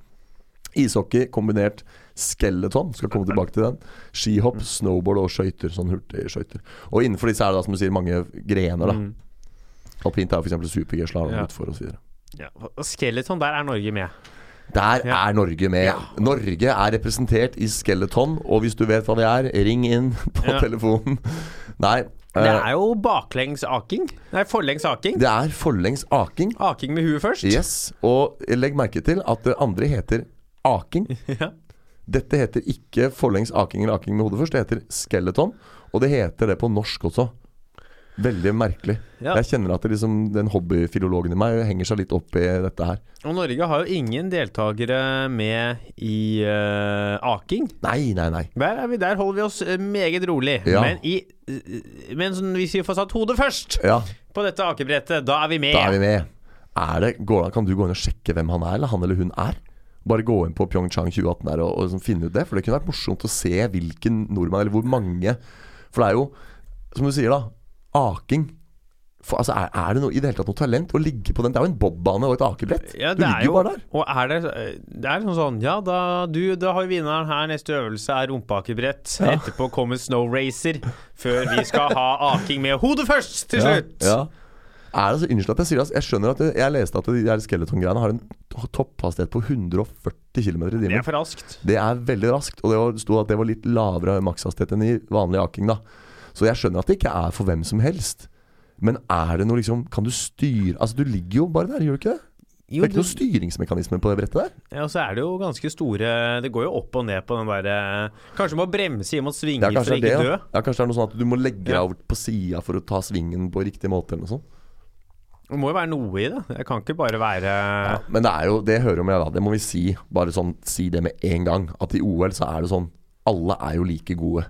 Ishockey kombinert skeleton, skal komme tilbake til den. Mm. Skihopp, snowboard og skøyter. Sånn hurtigskøyter. Og innenfor disse er det da, som du sier, mange grener, da. Mm. Alpint er jo f.eks. super-G, slalåm, Ja. utfor osv. Ja. Skeleton, der er Norge med. Der Ja. er Norge med. Norge er representert i skeleton, og hvis du vet hva det er, ring inn på Ja. telefonen. Nei, Det eh, er jo baklengs aking. Nei, forlengs aking. det er forlengs aking. Aking med huet først. Yes, og legg merke til at det andre heter aking. Ja. Dette heter ikke forlengs aking eller aking med hodet først. Det heter skeleton, og det heter det på norsk også. Veldig merkelig. Ja. Jeg kjenner at det liksom, den hobbyfilologen i meg henger seg litt opp i dette her. Og Norge har jo ingen deltakere med i eh, aking. Nei, nei, nei. Der, er vi, der holder vi oss eh, meget rolig. Ja. Men, i, eh, men sånn, hvis vi får satt hodet først Ja, på dette akebrettet, da er vi med. da er vi med. Er det, går, kan du gå inn og sjekke hvem han er, eller han eller hun er? Bare gå inn på Pyeongchang 2018 her og, og liksom finne ut det. For det kunne vært morsomt å se hvilken nordmann, eller hvor mange. For det er jo, som du sier da, aking. For, altså, er, er det noe, i det hele tatt noe talent å ligge på den? Det er jo en bobbane og et akebrett. Ja, du det ligger er jo bare der. Og er det, det er liksom sånn Ja, da, du, da har vi vinneren her. Neste øvelse er rumpeakebrett. Etterpå kommer snow racer. Før vi skal ha aking med hodet først, til slutt. Ja. Er det så Unnskyld at jeg sier det. ass. Jeg skjønner at det, jeg leste at de der skeletongreiene har en to- topphastighet på 140 km i Det timen. er for raskt. Det er veldig raskt, og det var- sto at det var litt lavere makshastighet enn i vanlig aking. da Så jeg skjønner at det ikke er for hvem som helst. Men er det noe liksom Kan du styre Altså, du ligger jo bare der, gjør du ikke det? Det Jo, er ikke noen styringsmekanisme på det brettet der. Ja, og så er det jo ganske store Det går jo opp og ned på den derre Kanskje du må bremse inn mot Ja, svinger for kanskje å det ikke er det. dø. Ja. Ja, kanskje det er noe sånn at du må legge deg Ja. over på sida for å ta svingen på riktig måte, eller noe sånt. Det må jo være noe i det. Det kan ikke bare være Ja, men det er jo Det hører jo med, da. Det må vi si. Bare sånn si det med en gang. At i OL så er det sånn Alle er jo like gode.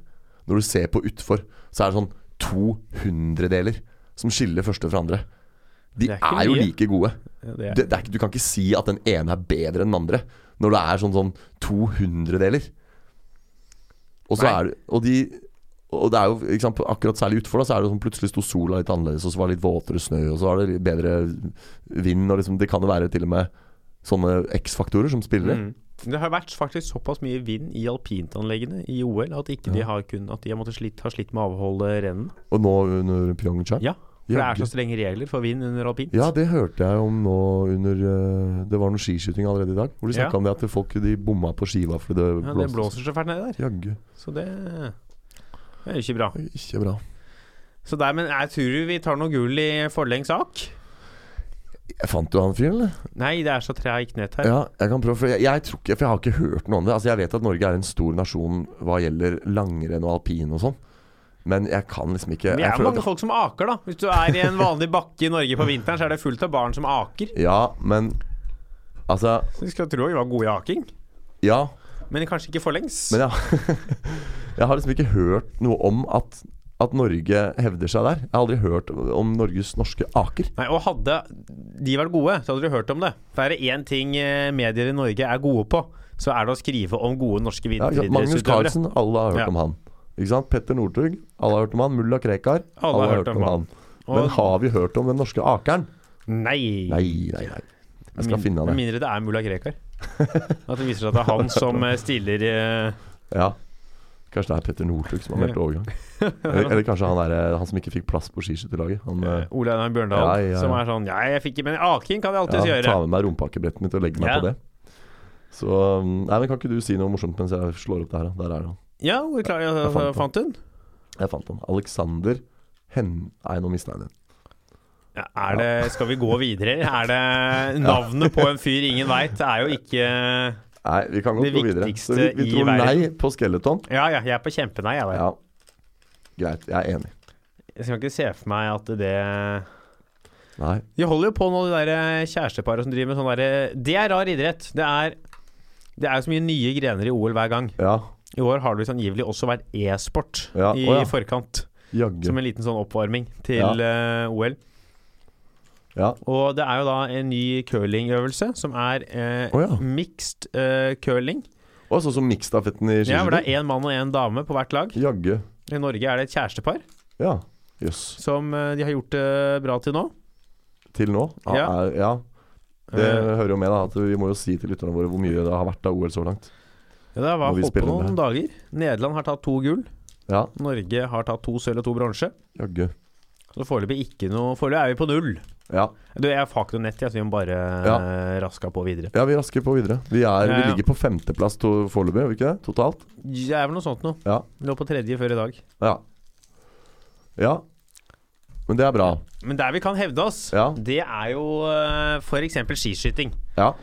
Når du ser på utfor, så er det sånn to hundredeler som skiller første fra andre. De Det er, er ikke jo mye. like gode. Ja, Det, det er- det er ikke, du kan ikke si at den ene er bedre enn den andre når det er sånn, sånn to hundredeler. Og, så Nei. er, det- og, de, og det er jo ikke sant, akkurat særlig utfor, da, så er det sånn plutselig sto sola litt annerledes, og så var det litt våtere snø, og så var det litt bedre vind. Og liksom, det kan jo være til og med sånne X-faktorer som spiller inn. Mm. Det har vært faktisk såpass mye vind i alpintanleggene i OL at ikke de har kun, At de har måttet slitt, har slitt med å avholde rennen. Og nå under Pyeongchang Mm. Ja, for det Ja, er så strenge regler for vind under alpint. Ja, det hørte jeg om nå under eh, Det var noe skiskyting allerede i dag, hvor de Ja. snakka om det at folk de bomma på skiva fordi det Ja, det blåste. blåser så fælt nedi der. Jaggu. Så det, det er jo ikke bra. Ikke bra. Så der, men jeg tror vi tar noe gull i forlengs sak. Jeg fant du han fyren, eller? Nei, det er så treigt nett her. Ja, jeg kan prøve, for jeg, jeg tror ikke, for jeg har ikke hørt noe om det. Altså, jeg vet at Norge er en stor nasjon hva gjelder langrenn og alpin og sånn, men jeg kan liksom ikke Det jeg er føler mange at- folk som aker, da. Hvis du er i en vanlig bakke i Norge på vinteren, så er det fullt av barn som aker. Ja, men Altså, Så de skal tro vi var gode i aking, ja, men kanskje ikke forlengs. men jeg, jeg har liksom ikke hørt noe om at, at Norge hevder seg der. Jeg har aldri hørt om Norges norske aker. Nei, og hadde de vært gode, så hadde du hørt om det. For er det én ting eh, medier i Norge er gode på, så er det å skrive om gode norske Ja, ikke sant? Magnus vinteridrettsutøvere. Carlsen, alle har hørt Ja. om han. Ikke sant? Petter Northug, alle har hørt om han. Mulla Krekar, alle, har hørt om han. Men Og- har vi hørt om den norske akeren? Nei! Nei, nei, nei. Jeg skal Min- finne han, Med jeg. mindre det er mulla Krekar. At det viser seg at det er han som eh, stiller eh, Ja. Kanskje det er Petter Northug som har meldt overgang. Eller, eller kanskje han, er, eh, han som ikke fikk plass på skiskytterlaget. Han eh, Ole Einar Bjørndal, Ja, ja, ja. som er sånn Ja, jeg fikk ikke Men aking kan jeg ja, alltids gjøre. tar med meg rumpakebrettet mitt og legger meg Ja. på det. Så um, Nei, men kan ikke du si noe morsomt mens jeg slår opp det her? da? Der er han. Ja, hvor klar jeg, Jeg fant han. fant den? Jeg fant han. Alexander Hen... Nei, nå mista jeg den. Ja, er det, skal vi gå videre? Er det Navnet på en fyr ingen veit, er jo ikke Ja Nei, vi kan godt Det gå videre. Så vi, viktigste vi i tror verden. nei på skeleton. ja, jeg er på kjempenei, jeg. der. Ja. Greit, jeg er enig. Jeg skal ikke se for meg at det Nei. eh, De holder jo på nå, de der kjæresteparet som driver med sånn derre Det er rar idrett. Det er Det er jo så mye nye grener i OL hver gang. Ja, I år har det angivelig også vært e-sport Ja, i å ja. forkant. jaggu. Som en liten sånn oppvarming til Ja. eh, OL. Ja. Og det er jo da en ny curlingøvelse, som er eh, Å ja. mixed eh, curling. Og sånn som miksstafetten i Ja, hvor det skiskyting. er én mann og én dame på hvert lag. Jaggu. I Norge er det et kjærestepar Ja. Jøss. som eh, de har gjort det bra til nå. Til nå? Ja. Ja. Er, ja. Det Eh, hører jo med, da. At vi må jo si til lytterne våre hvor mye det har vært av OL så langt. ja, det må var vi holdt på spille noen med? dager. Nederland har tatt to gull. Ja, Norge har tatt to sølv og to bronse. jaggu. Så foreløpig ikke noe Foreløpig er vi på null. Ja. Du, jeg fakt og nett, jeg, så vi må bare ja. raska på videre. ja, vi rasker på videre. Vi, er, Ja, vi ja. ligger på femteplass to- foreløpig, gjør vi ikke det? Totalt? Det er vel noe sånt noe. Ja. Lå på tredje før i dag. Ja. ja. Men det er bra. Men der vi kan hevde oss, Ja. det er jo eh, for eksempel skiskyting. Ja.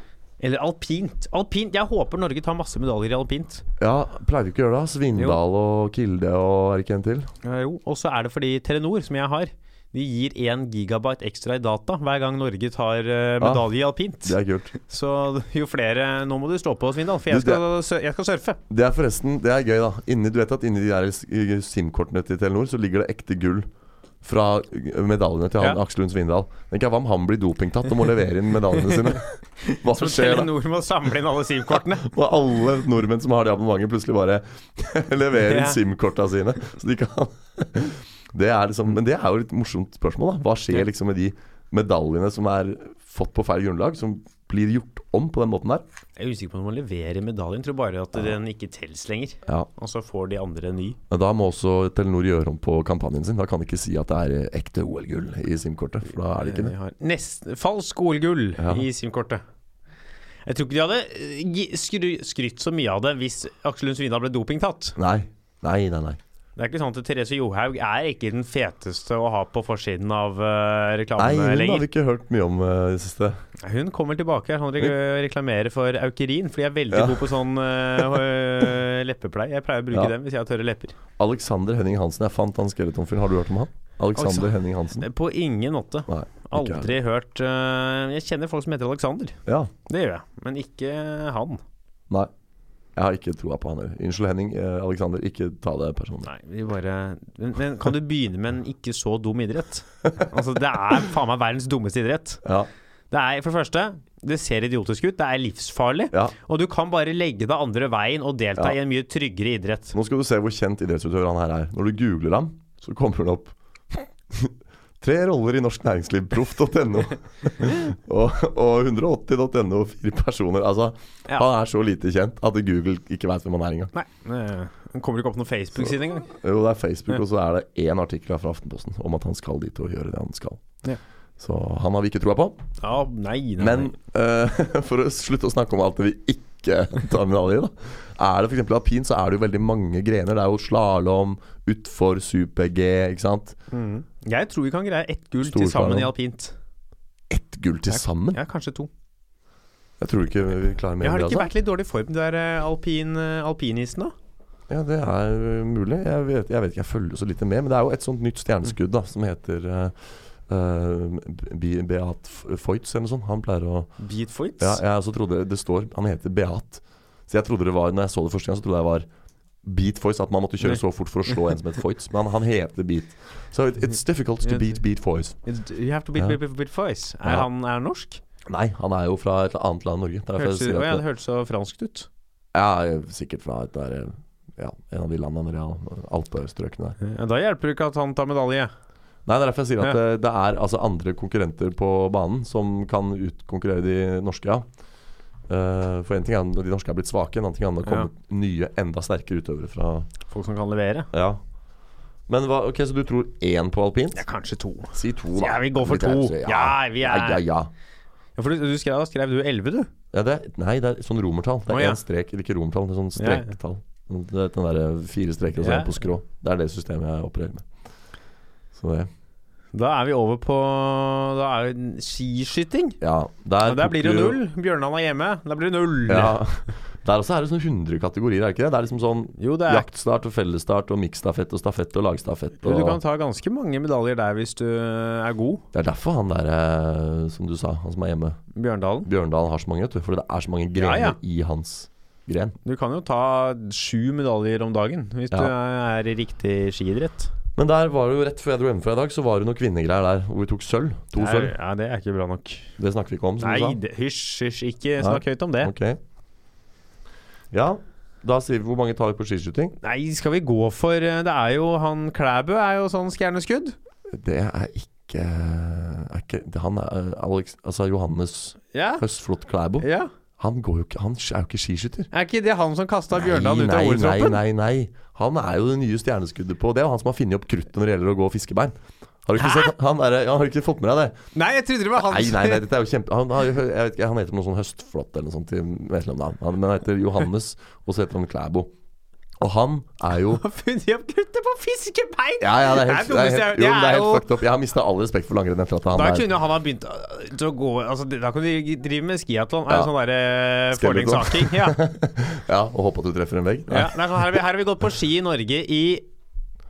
Eller alpint. Alpint, Jeg håper Norge tar masse medaljer i alpint. ja pleier vi ikke å gjøre det? da? Svindal og Kilde og er det ikke en til? Eh, jo, Og så er det fordi Telenor, som jeg har, de gir 1 gigabyte ekstra i data hver gang Norge tar eh, medalje i alpint. Det er kult. Så jo flere Nå må du stå på, Svindal, for Du, jeg skal, sø- jeg skal surfe. Det er forresten det er gøy, da. Inni, du vet at inni de der s- SIM-kortene til Telenor så ligger det ekte gull fra eh, medaljene til han, Ja. Aksel Lund Svindal. Tenk hva om han blir dopingtatt og må levere inn medaljene sine? Hva Så som skjer da? Telenor må samle inn alle SIM-kortene. Og alle nordmenn som har det abonnementet, plutselig bare leverer Ja. inn SIM-korta sine. Så de kan det er liksom, Men det er jo et litt morsomt spørsmål, da. Hva skjer liksom med de medaljene som er fått på feil grunnlag? Som blir gjort om på den måten der? Jeg er usikker på om man leverer medaljen. Tror bare at den ikke telles lenger. Ja Og så får de andre en ny. Men da må også Telenor gjøre om på kampanjen sin. Da kan de ikke si at det er eh, ekte OL-gull i SIM-kortet. For da er det ikke det. Vi Eh, har nesten falsk OL-gull Ja. i SIM-kortet. Jeg tror ikke de hadde eh, gi- skry, skrytt så mye av det hvis Aksel Lund Svindal ble dopingtatt. Nei. Nei, nei, nei. Det er ikke sånn at Therese Johaug er ikke den feteste å ha på forsiden av eh, Nei, reklamene Hun har lenger. vi ikke hørt mye om eh, i det siste. Hun kommer tilbake her, sånn re reklamerer for Aukerin, for de er veldig Ja. gode på sånn eh, leppepleie. Jeg pleier å bruke Ja. dem hvis jeg har tørre lepper. Alexander Henning Hansen. Jeg fant han skeletonfyren. Har du hørt om han? Alexander Henning Hansen. På ingen måte. Nei. ikke Aldri hørt eh, Jeg kjenner folk som heter Alexander. jeg. Ja. Det gjør jeg. Men ikke han. Nei. Jeg har ikke troa på han heller. Unnskyld, Henning. Eh, Alexander, ikke ta det personlig. Nei, vi bare men, men kan du begynne med en ikke så dum idrett? Altså, det er faen meg verdens dummeste idrett. Ja. Det er for det første det ser idiotisk ut, det er livsfarlig, ja. og du kan bare legge deg andre veien og delta Ja. i en mye tryggere idrett. Nå skal du se hvor kjent idrettsutøver han her er. Når du googler ham, så kommer han opp. Tre roller i norsk næringsliv, proff.no og, og 180.no, fire personer. Altså, Ja. han er så lite kjent at Google ikke veit hvem han er engang. Nei, det kommer ikke opp noen Facebook-side engang. Jo, det er Facebook, og så er det én artikkel her fra Aftenposten om at han skal dit og gjøre det han skal. Ja. Så han har vi ikke troa på. Ja, nei, nei. Men nei. eh, for å slutte å snakke om alt det vi ikke tar medalje i, da. Er det f.eks. alpin, så er det jo veldig mange grener. Det er jo slalåm, utfor, super-G, ikke sant. Mm. Jeg tror vi kan greie ett gull til sammen Storslalom. i alpint. Ett gull til sammen? Ja, kanskje to. Jeg tror ikke vi klarer mer enn Jeg har det. ikke Altså. vært litt dårlig i form, de der eh, alpin, eh, alpinisen, da? Ja, det er øh, mulig. Jeg vet, jeg vet ikke, jeg følger så lite med. Men det er jo et sånt nytt stjerneskudd da som heter øh, øh, Bi- Beat F- Foyts eller noe sånt. Han pleier å Beat Foyts? Ja, jeg også trodde det står Han heter Beat. Så jeg trodde det var Når jeg så det første gang, så trodde jeg det var Beat Foyts. At man måtte kjøre så fort for å slå en som het Foyts. Men han, han heter Beat. Så it, it's difficult to beat Beat Foyts. You have to beat, Ja. beat, beat, beat Foyts. Er Ja. han er han norsk? Nei, han er jo fra et annet land enn Norge. Det er derfor jeg Hørtes, sier å, ja, at det hørtes så franskt ut. Ja, sikkert fra et der eh, ja, en av de landene der, alpestrøkene der. Ja, da hjelper det ikke at han tar medalje. Nei, det er derfor jeg sier at det, det er altså andre konkurrenter på banen som kan utkonkurrere de norske, ja. Eh, for en ting er om de norske er blitt svake, en annen ting er om det har kommet nye, enda sterkere utøvere fra Folk som kan levere. Ja. Men hva, ok, så du tror én på alpint? Ja, kanskje to. Si to, da. Ja, vi går for Litt to. rausere, Ja, vi er- Ja, ja, ja. Ja, for du, du skrev, da skrev du elleve, du. Ja, det, er- nei, det er sånn romertall. Det er én Å, ja. strek, eller ikke romertall, det er sånn Ja, ja. strektall. Du vet Den derre fire streker og så Ja. en på skrå. Det er det systemet jeg opererer med. Så det Da er vi over på Da er det skiskyting. Ja. Der, Og der tok blir det du- jo null. Bjørnland er hjemme. Der blir det null. Ja. Der også er det sånn 100 kategorier, er det ikke det? Det er liksom sånn Jo, det er jaktstart og fellesstart og miksstafett og stafett og lagstafett Jo, og Du kan ta ganske mange medaljer der hvis du er god. Det er derfor han der, eh, som du sa, han som er hjemme, Bjørndalen. Bjørndalen har så mange, vet du. Fordi det er så mange grener Ja, ja. i hans gren. Du kan jo ta sju medaljer om dagen hvis Ja. du er i riktig skiidrett. Men der var det jo rett før jeg dro hjemmefra i dag, så var det noen kvinnegreier der hvor vi tok sølv. To Det er- sølv. Ja, det er ikke bra nok. Det snakker vi ikke om, som Nei, du det, hysj, hysj, ikke snakk høyt om sa. det. Ok. Ja, da sier vi hvor mange tar vi på skiskyting. Nei, skal vi gå for eh, Det er jo han Klæbø er jo sånn stjerneskudd. Det er ikke, er ikke det, Han er eh, Alex, altså Johannes Ja. Høstflot Klæbo. ja. Han, går jo ikke, han er jo ikke skiskytter. Er ikke det han som kasta Bjørndalen ut av nei, nei, ordtroppen? nei, nei. Han er jo det nye stjerneskuddet på Det er jo han som har funnet opp kruttet når det gjelder å gå fiskebein. Har du ikke, sett, han er, ja, har du ikke fått med deg det? Nei, jeg trodde det var han. Nei, nei, nei, dette er jo kjempe Han, har jo- jeg vet ikke, han heter noe sånn Høstflot eller noe sånt i mellomnavn. Han, men han heter Johannes, og så heter han Klæbo. Og han er jo Har funnet opp kruttet på fiskebein! Ja, ja, det er helt, det er dummeste jeg har hørt. helt, jo, men det er helt jo- fucked up. Jeg har mista all respekt for langrenn etter at han Da er kunne han ha begynt øh, til å gå altså, det- Da kan du drive med skiatlon. Ja. Ja. Sånn derre Skeleton. forlingssaking. Ja. Ja, og håper at du treffer en vegg. Nei. Ja, det er sånn, her, har vi, her har vi gått på ski i Norge i,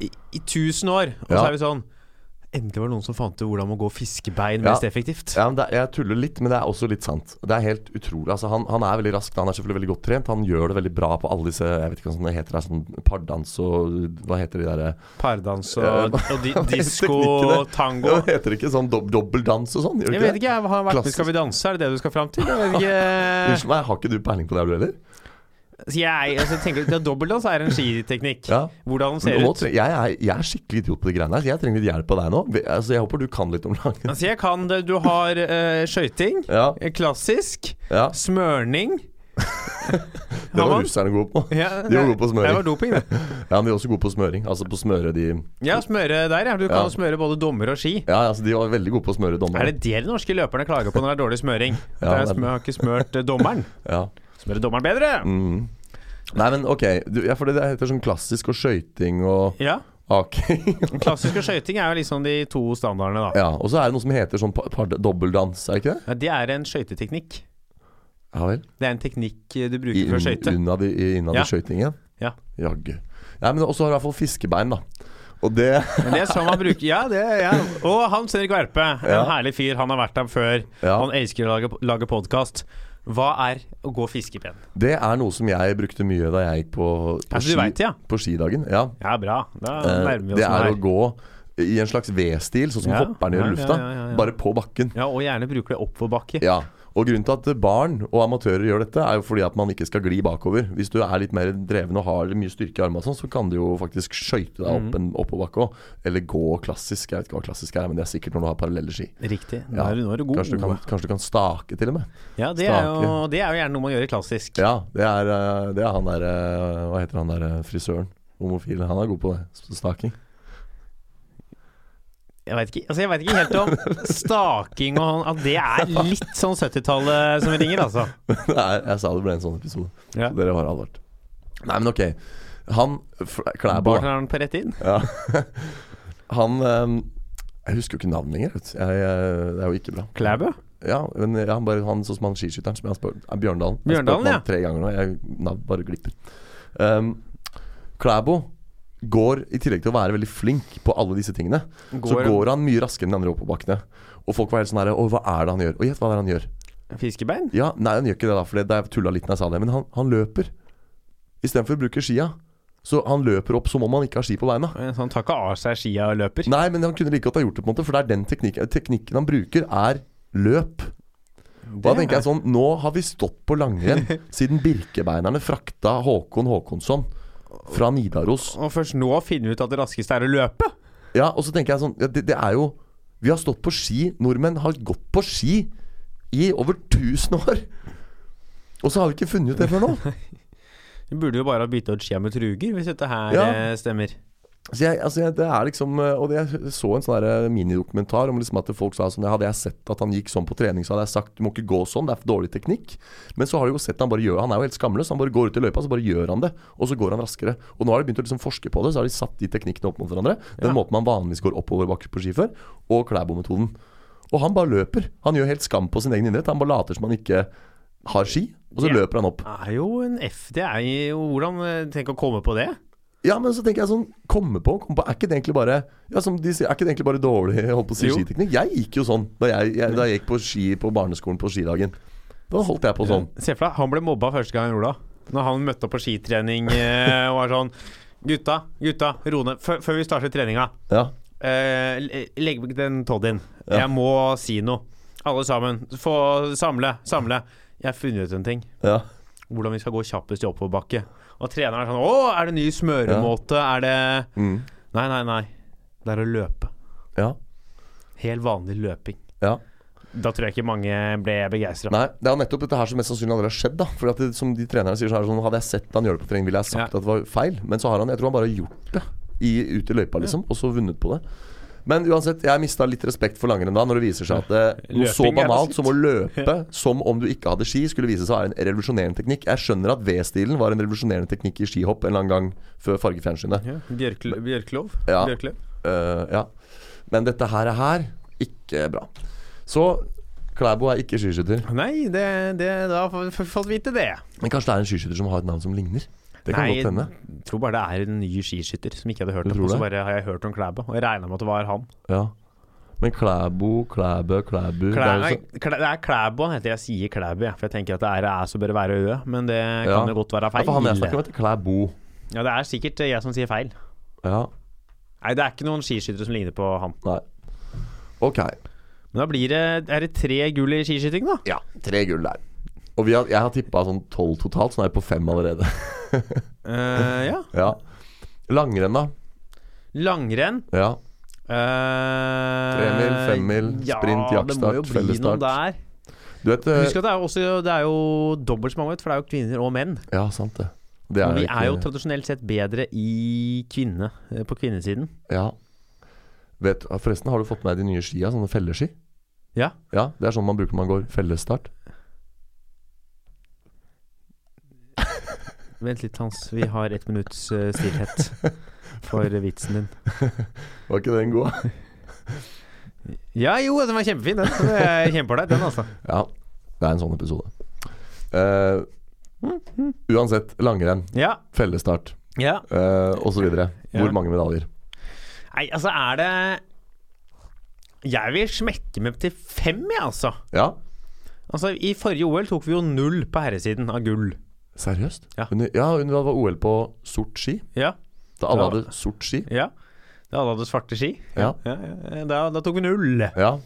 i, i tusen år, og så Ja. er vi sånn Endelig var det noen som fant ut hvordan man går fiskebein Ja. mest effektivt. Ja, men det, er- jeg tuller litt, men det er også litt sant. Det er helt utrolig. Altså, han, han er veldig rask, han er selvfølgelig veldig godt trent. Han gjør det veldig bra på alle disse Jeg vet ikke hva sånn det heter, det er sånn pardans og Hva heter de derre Pardans Ja, og, og di, disko, teknikkene. tango. ja, det Heter det ikke sånn dob dobbeldans og sånn? Gjør det Jeg ikke vet det? ikke, jeg har vært med i Skal vi danse, er det det du skal fram til? Jeg vet ikke Unnskyld meg, har ikke du peiling på det, er du heller? Så jeg, altså, tenker, du- Dobbeldans er en skiteknikk. Ja. Hvordan den Men ser nå ut. tre- jeg, er, jeg er skikkelig idiot på de greiene her, så jeg trenger litt hjelp av deg nå. Vi- Altså, jeg håper du kan litt om langrenn. Altså, jeg kan det. Du har øh, skøyting. Ja, Klassisk. ja. Smørning. Det Har var man? russerne gode på. Ja, De var gode på smøring. Det var doping, det. Ja, men de er også gode på smøring. Altså på å smøre de Ja, smøre der, ja. Du kan Ja. jo smøre både dommer og ski. Ja, altså de var veldig gode på å smøre dommerne. Er det det de norske løperne klager på når det er dårlig smøring? Ja, det er det er sm- har ikke smørt eh, dommeren. Ja. Smøre dommeren bedre! Mm. Nei, men ok. Du, ja, for det heter sånn klassisk og skøyting og Ja. aking. Klassisk og skøyting er jo liksom de to standardene, da. ja, og så er det noe som heter sånn pa- par- dobbeldans, er det ikke det? Ja, det er en skøyteteknikk. Ja vel. Det er en teknikk eh, du I, bruker for å skøyte. innad i, i innad i Ja. skøytingen? Ja. Jaggu. Nei, men også har du i hvert fall fiskebein, da. Og det Men det er sånn man bruker Ja, det ja. Og Hans Erik Verpe, en Ja. herlig fyr. Han har vært der før. Ja. Han elsker å lage, lage podkast. Hva er å gå fiskepen? Det er noe som jeg brukte mye da jeg gikk på, på, Altså, du veit det, ja? på skidagen. Ja. Ja, bra. Da Eh, nærmer vi oss det er noe å her. gå i en slags V-stil, sånn som Ja, hopperne gjør i ja, ja, lufta. ja, ja. Bare på bakken. Ja, og gjerne bruker det oppoverbakke. Ja, og grunnen til at barn og amatører gjør dette, er jo fordi at man ikke skal gli bakover. Hvis du er litt mer dreven og har mye styrke i armene, og sånn, så kan du jo faktisk skøyte deg Mhm. opp en oppoverbakke òg. Eller gå klassisk. Jeg vet ikke hva klassisk er, men det er sikkert når du har parallelle ski. Riktig. Nå Ja. er du, nå er du god. Kanskje du, kan, kanskje du kan stake, til og med. Ja, det er, jo, Stake. det er jo gjerne noe man gjør i klassisk. Ja, det er, eh, det er han derre Hva heter han derre frisøren? Homofil. Han er god på det. s- Staking. Jeg veit ikke, altså jeg vet ikke helt om staking og sånn, at det er litt sånn 70-tallet som ringer, altså. Det er- jeg sa det ble en sånn episode. Ja. Så dere var advart. Nei, men ok. Han F- Klæbo. da. Bartenderen på rett inn. Ja. Han eh, Jeg husker jo ikke navnet lenger. Vet. du. Jeg, eh, det er jo ikke bra. Klæbø? Ja, men ja, han, bare, han sånn som han skiskytteren som jeg har spurt er Bjørndalen. Jeg har Bjørndalen, spurt ja. han tre ganger nå. Jeg nav bare glipper. Um, Klæbo går, i tillegg til å være veldig flink på alle disse tingene, så Går- går han mye raskere enn de andre oppoverbakkene. Og folk var helt sånn her Å, hva er det han gjør? Og gjett hva det er han gjør. Fiskebein? Ja, Nei, han gjør ikke det, da, for det- det er tulla litt når jeg sa det. Men han, han løper. Istedenfor å bruke skia. Så han løper opp som om han ikke har ski på beina. Så han tar ikke av seg skia sånn og løper? Nei, men han kunne like godt ha gjort det, på en måte for det er den teknikken, teknikken han bruker, er løp. Og da Det tenker er- jeg sånn Nå har vi stått på langrenn siden Birkebeinerne frakta Håkon Håkonsson fra Nidaros. Og først nå finner vi ut at det raskeste er å løpe? Ja, og så tenker jeg sånn ja, det, det er jo Vi har stått på ski. Nordmenn har gått på ski i over 1000 år. Og så har vi ikke funnet ut det før nå. Vi burde jo bare ha bytta ut skia med truger, hvis dette her Ja. eh, stemmer. Så jeg, altså jeg, det er liksom eh, Og det- jeg så en sånn der, eh, minidokumentar om liksom at folk sa sånn Hadde jeg sett at han gikk sånn på trening, så hadde jeg sagt du må ikke gå sånn, det er for dårlig teknikk. Men så har de jo sett han bare gjør Han er jo helt skamløs. Han bare går ut i løypa, så bare gjør han det. Og så går han raskere. Og nå har de begynt å liksom forske på det, så har de satt de teknikkene opp mot hverandre. Den Ja. måten man vanligvis går oppover bakker på ski før, og Klæbo-metoden. Og han bare løper. Han gjør helt skam på sin egen idrett. Han bare later som han ikke har ski, og så Ja. løper han opp. Det er jo en F Det er jo Hvordan eh, Tenk å komme på det? Ja, men så tenker jeg sånn Komme på, komme på Er ikke det egentlig bare Ja, som de sier Er ikke det egentlig bare dårlig jeg holdt på å si Jo. skiteknikk? Jeg gikk jo sånn da jeg, jeg, da jeg gikk på ski på barneskolen på skidagen. Da holdt jeg på sånn. Se for deg, han ble mobba første gang han gjorde det. Når han møtte opp på skitrening eh, og var sånn Gutta, gutta, ro ned. Før før vi starter treninga, Ja. eh, le- legg vekk den toddyen. Ja. Jeg må si noe. Alle sammen. Få samle, samle. Jeg har funnet ut en ting. ja. Hvordan vi skal gå kjappest i oppoverbakke. Og treneren er sånn Å, er det ny smøremåte? Er det Mm. Nei, nei, nei. Det er å løpe. ja. Helt vanlig løping. Ja. Da tror jeg ikke mange ble begeistra. Nei, det er nettopp dette her som mest sannsynlig aldri har skjedd. da Fordi at det, som de trenerne sier, så er det sånn Hadde jeg sett han gjøre det på trening, ville jeg sagt Ja. at det var feil. Men så har han Jeg tror han bare har gjort det i, ute i løypa, liksom. Og så vunnet på det. Men uansett, jeg mista litt respekt for langrenn da, når det viser seg at det, noe så Løping er banalt det som å løpe som om du ikke hadde ski, skulle vise seg å være en revolusjonerende teknikk. Jeg skjønner at V-stilen var en revolusjonerende teknikk i skihopp en eller annen gang før fargefjernsynet. Ja, Bjørkl Bjørklov? Ja. Bjørkløv? Eh, ja. Men dette her er her ikke bra. Så Klæbo er ikke skiskytter. Nei, det, det, da har vi fått vite det. Men kanskje det er en skiskytter som har et navn som ligner? Det kan Nei, godt hende. Jeg tror bare det er en ny skiskytter som ikke hadde hørt Du om. tror Og så det? bare har jeg hørt om Klæbo, og jeg regna med at det var han. Ja. Men Klæbo, Klæbø, Klæbu det Klæ er jo nei, så- Klæ det er Klæbo han heter. Jeg sier Klæbo, jeg, for jeg tenker at det er æ så bør det være ø. Men det Ja. kan jo godt være Ja, feil. for han jeg snakker om, heter Klæbo. Ja, det er sikkert eh, jeg som sier feil. Ja. Nei, det er ikke noen skiskyttere som ligner på han. Nei. Ok. Men da blir det Er det tre gull i skiskyting, da? Ja, tre gull der. Og vi har, jeg har tippa sånn tolv totalt, så nå er jeg på fem allerede. Eh, ja. Ja. Langrenn, da? Langrenn. eh, Ja. Uh, Tremil, femmil, sprint, jaktstart, fellesstart. Der. Du vet eh, Husk at det er, jo også, det er jo dobbelt så mange, vet du, for det er jo kvinner og menn. Ja, sant det. Det Men vi er jo ikke- tradisjonelt sett bedre i kvinne, eh, på kvinnesiden. Ja. Vet, forresten, har du fått med deg de nye skia? Sånne felleski? Ja. Ja, Det er sånn man bruker når man går fellesstart. Vent litt, Hans. Vi har ett minutts eh, stillhet for vitsen din. Var ikke den god? Ja, jo, den var kjempefin, den. Så Jeg kjemper deg, den, altså. Ja, det er en sånn episode. Eh, uansett, langrenn, Ja. fellesstart ja. uh, osv. Hvor Ja. mange medaljer? Nei, altså, er det Jeg vil smekke med til fem, jeg, altså. Ja, Altså, I forrige OL tok vi jo null på herresiden av gull. seriøst? Ja. Under, ja, under det var OL på sort ski. Ja. Da alle Ja. hadde sort ski. ja. Da alle hadde svarte ski. Ja. Ja, ja. Da, da tok vi null Ja,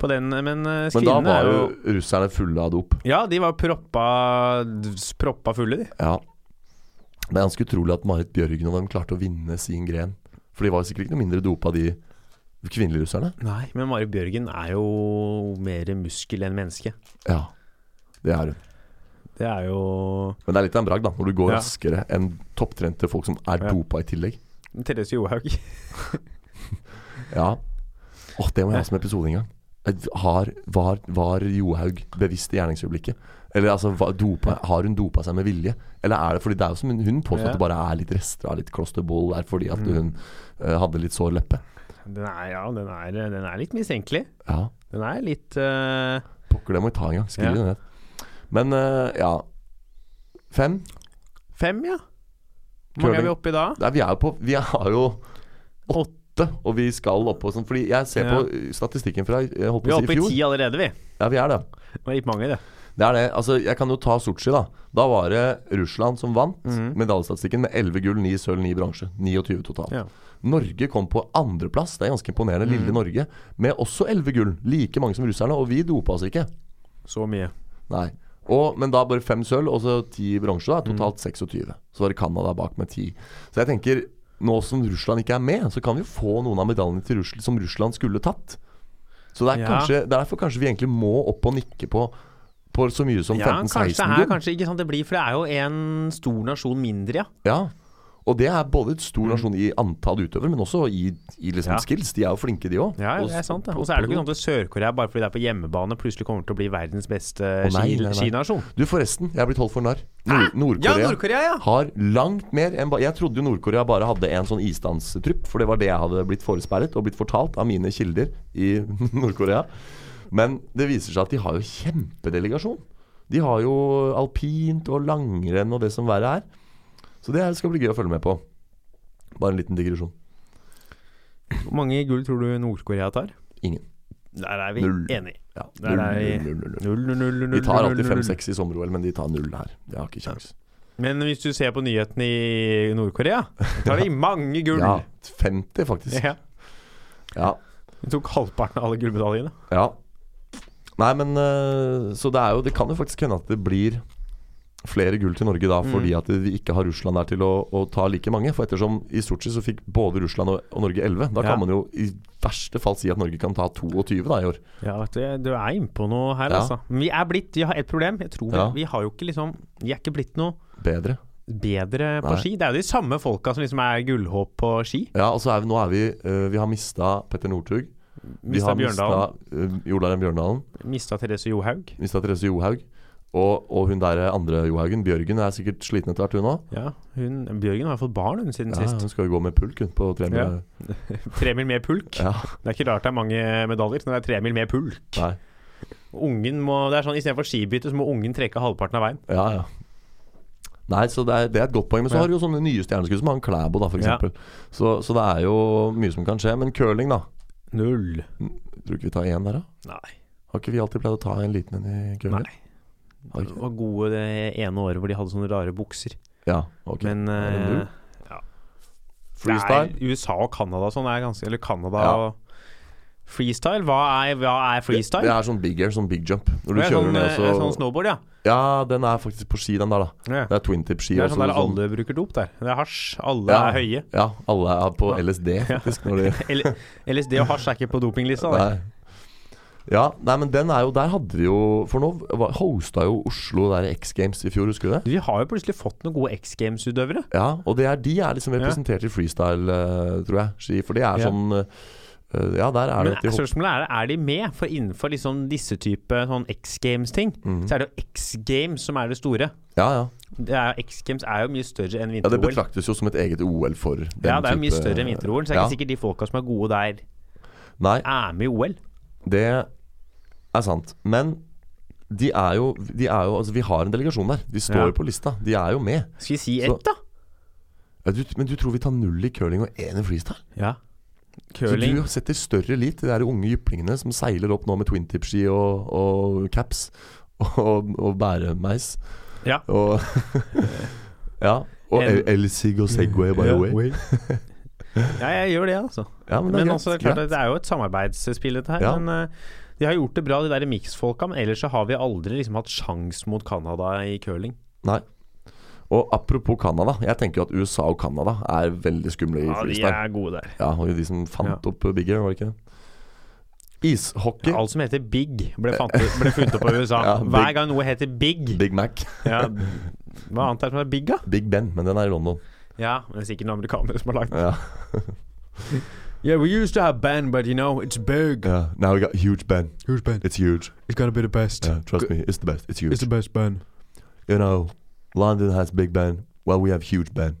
på den, men Men eh, da skvinnene var er jo jo russerne fulle av dop. Ja, de var proppa, d- proppa fulle, de. Ja. Det er ganske utrolig at Marit Bjørgen og dem klarte å vinne sin gren. For de var sikkert ikke noe mindre dopa, de kvinnelige russerne. Nei, men Mari Bjørgen er jo mer muskel enn menneske. Ja, det er hun. Det er jo Men det er litt av en bragd, da, når du går Ja. raskere enn topptrente folk som er Ja. dopa i tillegg. Therese Johaug. Ja. Åh, det må jeg ha som episode en gang. Har, var, var Johaug bevisst i gjerningsøyeblikket? Eller altså, hva- dopa, Har hun dopa seg med vilje? Eller er det fordi det er jo som hun, hun påstår Ja. Mm. at det bare er litt rester av litt klosterboll er fordi at hun eh, hadde litt sår leppe? Den er, ja, den er, den er litt mistenkelig. Ja, Den er litt eh, pokker, det må vi ta en gang. Skriv Ja. det ned. Men eh, ja Fem? fem, ja. Hvor mange er vi oppe i da? Nei, vi er jo på Vi har jo åtte, og vi skal opp på sånn Fordi jeg ser Ja. på eh, statistikken fra eh, holdt Vi på er å si oppe i i fjor. ti allerede, vi. Ja, vi er det. Det var litt mange, det. Det er det. Altså, jeg kan jo ta Sotsji, da. Da var det Russland som vant Mhm. medaljestatistikken med 11 gull, 9 sølv, 9 bronse. 29 totalt. Ja. Norge kom på andreplass, det er ganske imponerende, lille Norge, med også 11 gull. Like mange som russerne, og vi dopa oss ikke. Så mye. Nei. Og, men da bare 5 sølv og så 10 bronse, da. Totalt 26. Så var det Canada bak med 10. Så jeg tenker, nå som Russland ikke er med, så kan vi jo få noen av medaljene til Russland som Russland skulle tatt. Så det er, Ja. kanskje, det er derfor kanskje vi egentlig må opp og nikke på, på så mye som Ja, kanskje det 15-16 er gull. kanskje ikke sant det blir, for det er jo en stor nasjon mindre, ja. Ja. Og det er både et stor nasjon i antall utøvere, men også i, i liksom Mm. Ja. skills. De er jo flinke, de òg. Ja, ja, det er sant. da. Og så er det jo ikke sånn at Sør-Korea, bare fordi det er på hjemmebane, plutselig kommer til å bli verdens beste Å, nei, ski- nei, nei. skinasjon. Du, forresten. Jeg er blitt holdt for narr. Nord- Ja, Nord-Korea Nord-Korea, ja! har langt mer enn ba Jeg trodde jo Nord-Korea bare hadde en sånn isdanstrupp, for det var det jeg hadde blitt foresperret og blitt fortalt av mine kilder i Nord-Korea. Men det viser seg at de har jo kjempedelegasjon. De har jo alpint og langrenn og det som verre er. Så det her skal bli gøy å følge med på. Bare en liten digresjon. Hvor mange gull tror du Nord-Korea tar? Ingen. Der er vi Null. enig. Ja, Der null, er vi. null, null, null, null. Null, null, null, null, De tar null, alltid null, null. 5-6 i sommer-OL, men de tar null her. De har ikke kjangs. Men hvis du ser på nyhetene i Nord-Korea, tar de mange gull. Ja, 50 faktisk. Ja. Ja. De tok halvparten av alle gullmedaljene. ja. Nei, men eh, Så det, er jo, det kan jo faktisk hende at det blir flere gull til Norge da, Mm. fordi at vi ikke har Russland der til å, å ta like mange. For ettersom i Sotsji så fikk både Russland og, og Norge 11, da Ja. kan man jo i verste fall si at Norge kan ta 22 da i år. Ja, vet du, du er innpå noe her, Ja. altså. Men vi er blitt Vi har et problem. Jeg tror vi, Ja. vi har jo ikke liksom Vi er ikke blitt noe Bedre. bedre på Nei. ski. Det er jo de samme folka som liksom er gullhåp på ski. Ja, og så er vi, nå er vi eh, Vi har mista Petter Northug. Vi Mista har Bjørndalen. mista uh, Jolaren Bjørndalen. Mista Therese Johaug. Mista Therese Johaug. Og, og hun der andre Johaugen, Bjørgen, er sikkert sliten etter hvert, hun òg. Ja, hun Bjørgen har fått barn hun siden Ja, sist. hun skal jo gå med pulk hun, på tre Ja. mil. Tre mil med pulk. Ja. Det er ikke rart det er mange medaljer når det er tre mil med pulk. Nei. Ungen må, det er sånn, Istedenfor skibytte så må ungen trekke halvparten av veien. Ja, ja. Nei, så det er, det er et godt poeng. Men så Ja. har du jo sånne nye stjerneskudd som han Klæbo, da, f.eks. Ja. eksempel Så, så det er jo mye som kan skje. Men curling, da. Null. Tror du ikke vi tar én der, da? Nei. Har ikke vi alltid pleid å ta en liten en i curling? Nei. Har Det ikke? var gode det ene året hvor de hadde sånne rare bukser. Ja, ok. Men Da er det eh, null. det Freestyle? er USA og Canada og sånn er ganske Eller Canada Ja. og Freestyle? Hva er, hva er freestyle? Det, det er sånn big air, sånn big jump. Når du Det er kjører sånn, ned, eh, sånn så snowboard, ja. Ja, den er faktisk på ski, den der, da. Det er twin tip-ski. Det er også, sånn der det er alle bruker dop der. Det er hasj. Alle Ja. er høye. Ja, alle er på LSD, faktisk. Når de Eller- LSD og hasj Sånn er ikke på dopinglista. da. Nei. Ja, nei, men den er jo Der hadde vi jo For nå var- hosta jo Oslo der i X Games i fjor, husker du det? Vi har jo plutselig fått noen gode X Games-utøvere. Ja, og det er, de er liksom representert i freestyle, eh, tror jeg. ski, For det er Ja. sånn eh, Ja, der er Men det at de hopper spørsmålet er er de med? For innenfor liksom disse type sånn X Games-ting, Mhm. så er det jo X Games som er det store. Ja, ja. Det er, X Games er jo mye større enn ja det vinter-OL. betraktes jo som et eget OL for den Ja, det er jo mye type- større enn vinter-OL, så det er ja. ikke sikkert de folka som er gode der, Nei, er med i OL. det er sant. Men de er jo, de er jo Altså, vi har en delegasjon der. De står Ja. jo på lista. De er jo med. Skal vi si Så- ett, da? Ja, du, men du tror vi tar null i curling og én i freestyle? Ja. Så Curling. du setter større lit til de der unge jyplingene som seiler opp nå med twintip-ski og, og caps og, og bæremeis. Ja. Og, ja, og En- El- Elsig og Segway, by the way. Ja, jeg gjør det, altså. Ja, men det Men er altså, det, greit. er klart, greit. at det er jo et samarbeidsspill, dette her. Ja. Men eh, de har gjort det bra, de der mix-folka. Men ellers så har vi aldri liksom hatt sjans mot Canada i curling. Nei. Og apropos Canada. Jeg tenker jo at USA og Canada er veldig skumle i Ja, de freestyle. er gode der. Ja, og de som fant opp uh, Big Air, var det ikke det? Ishockey. Alt som heter Big, ble, fant, ble funnet opp av USA. Ja, Hver Big. gang noe heter Big. Big Mac. Ja, hva annet er det som er Big, da? Big Ben, men den er i London. Ja, men det er sikkert noen amerikanere som har lagd Ja. Yeah, we used to have band, but you know, it's big. Yeah. Now we got huge Ben. Who's Ben? It's huge. It's gotta be the best. Yeah, trust me, it's the best. It's huge. It's the best Ben. you know, London has Big Ben. Well, we have huge Ben.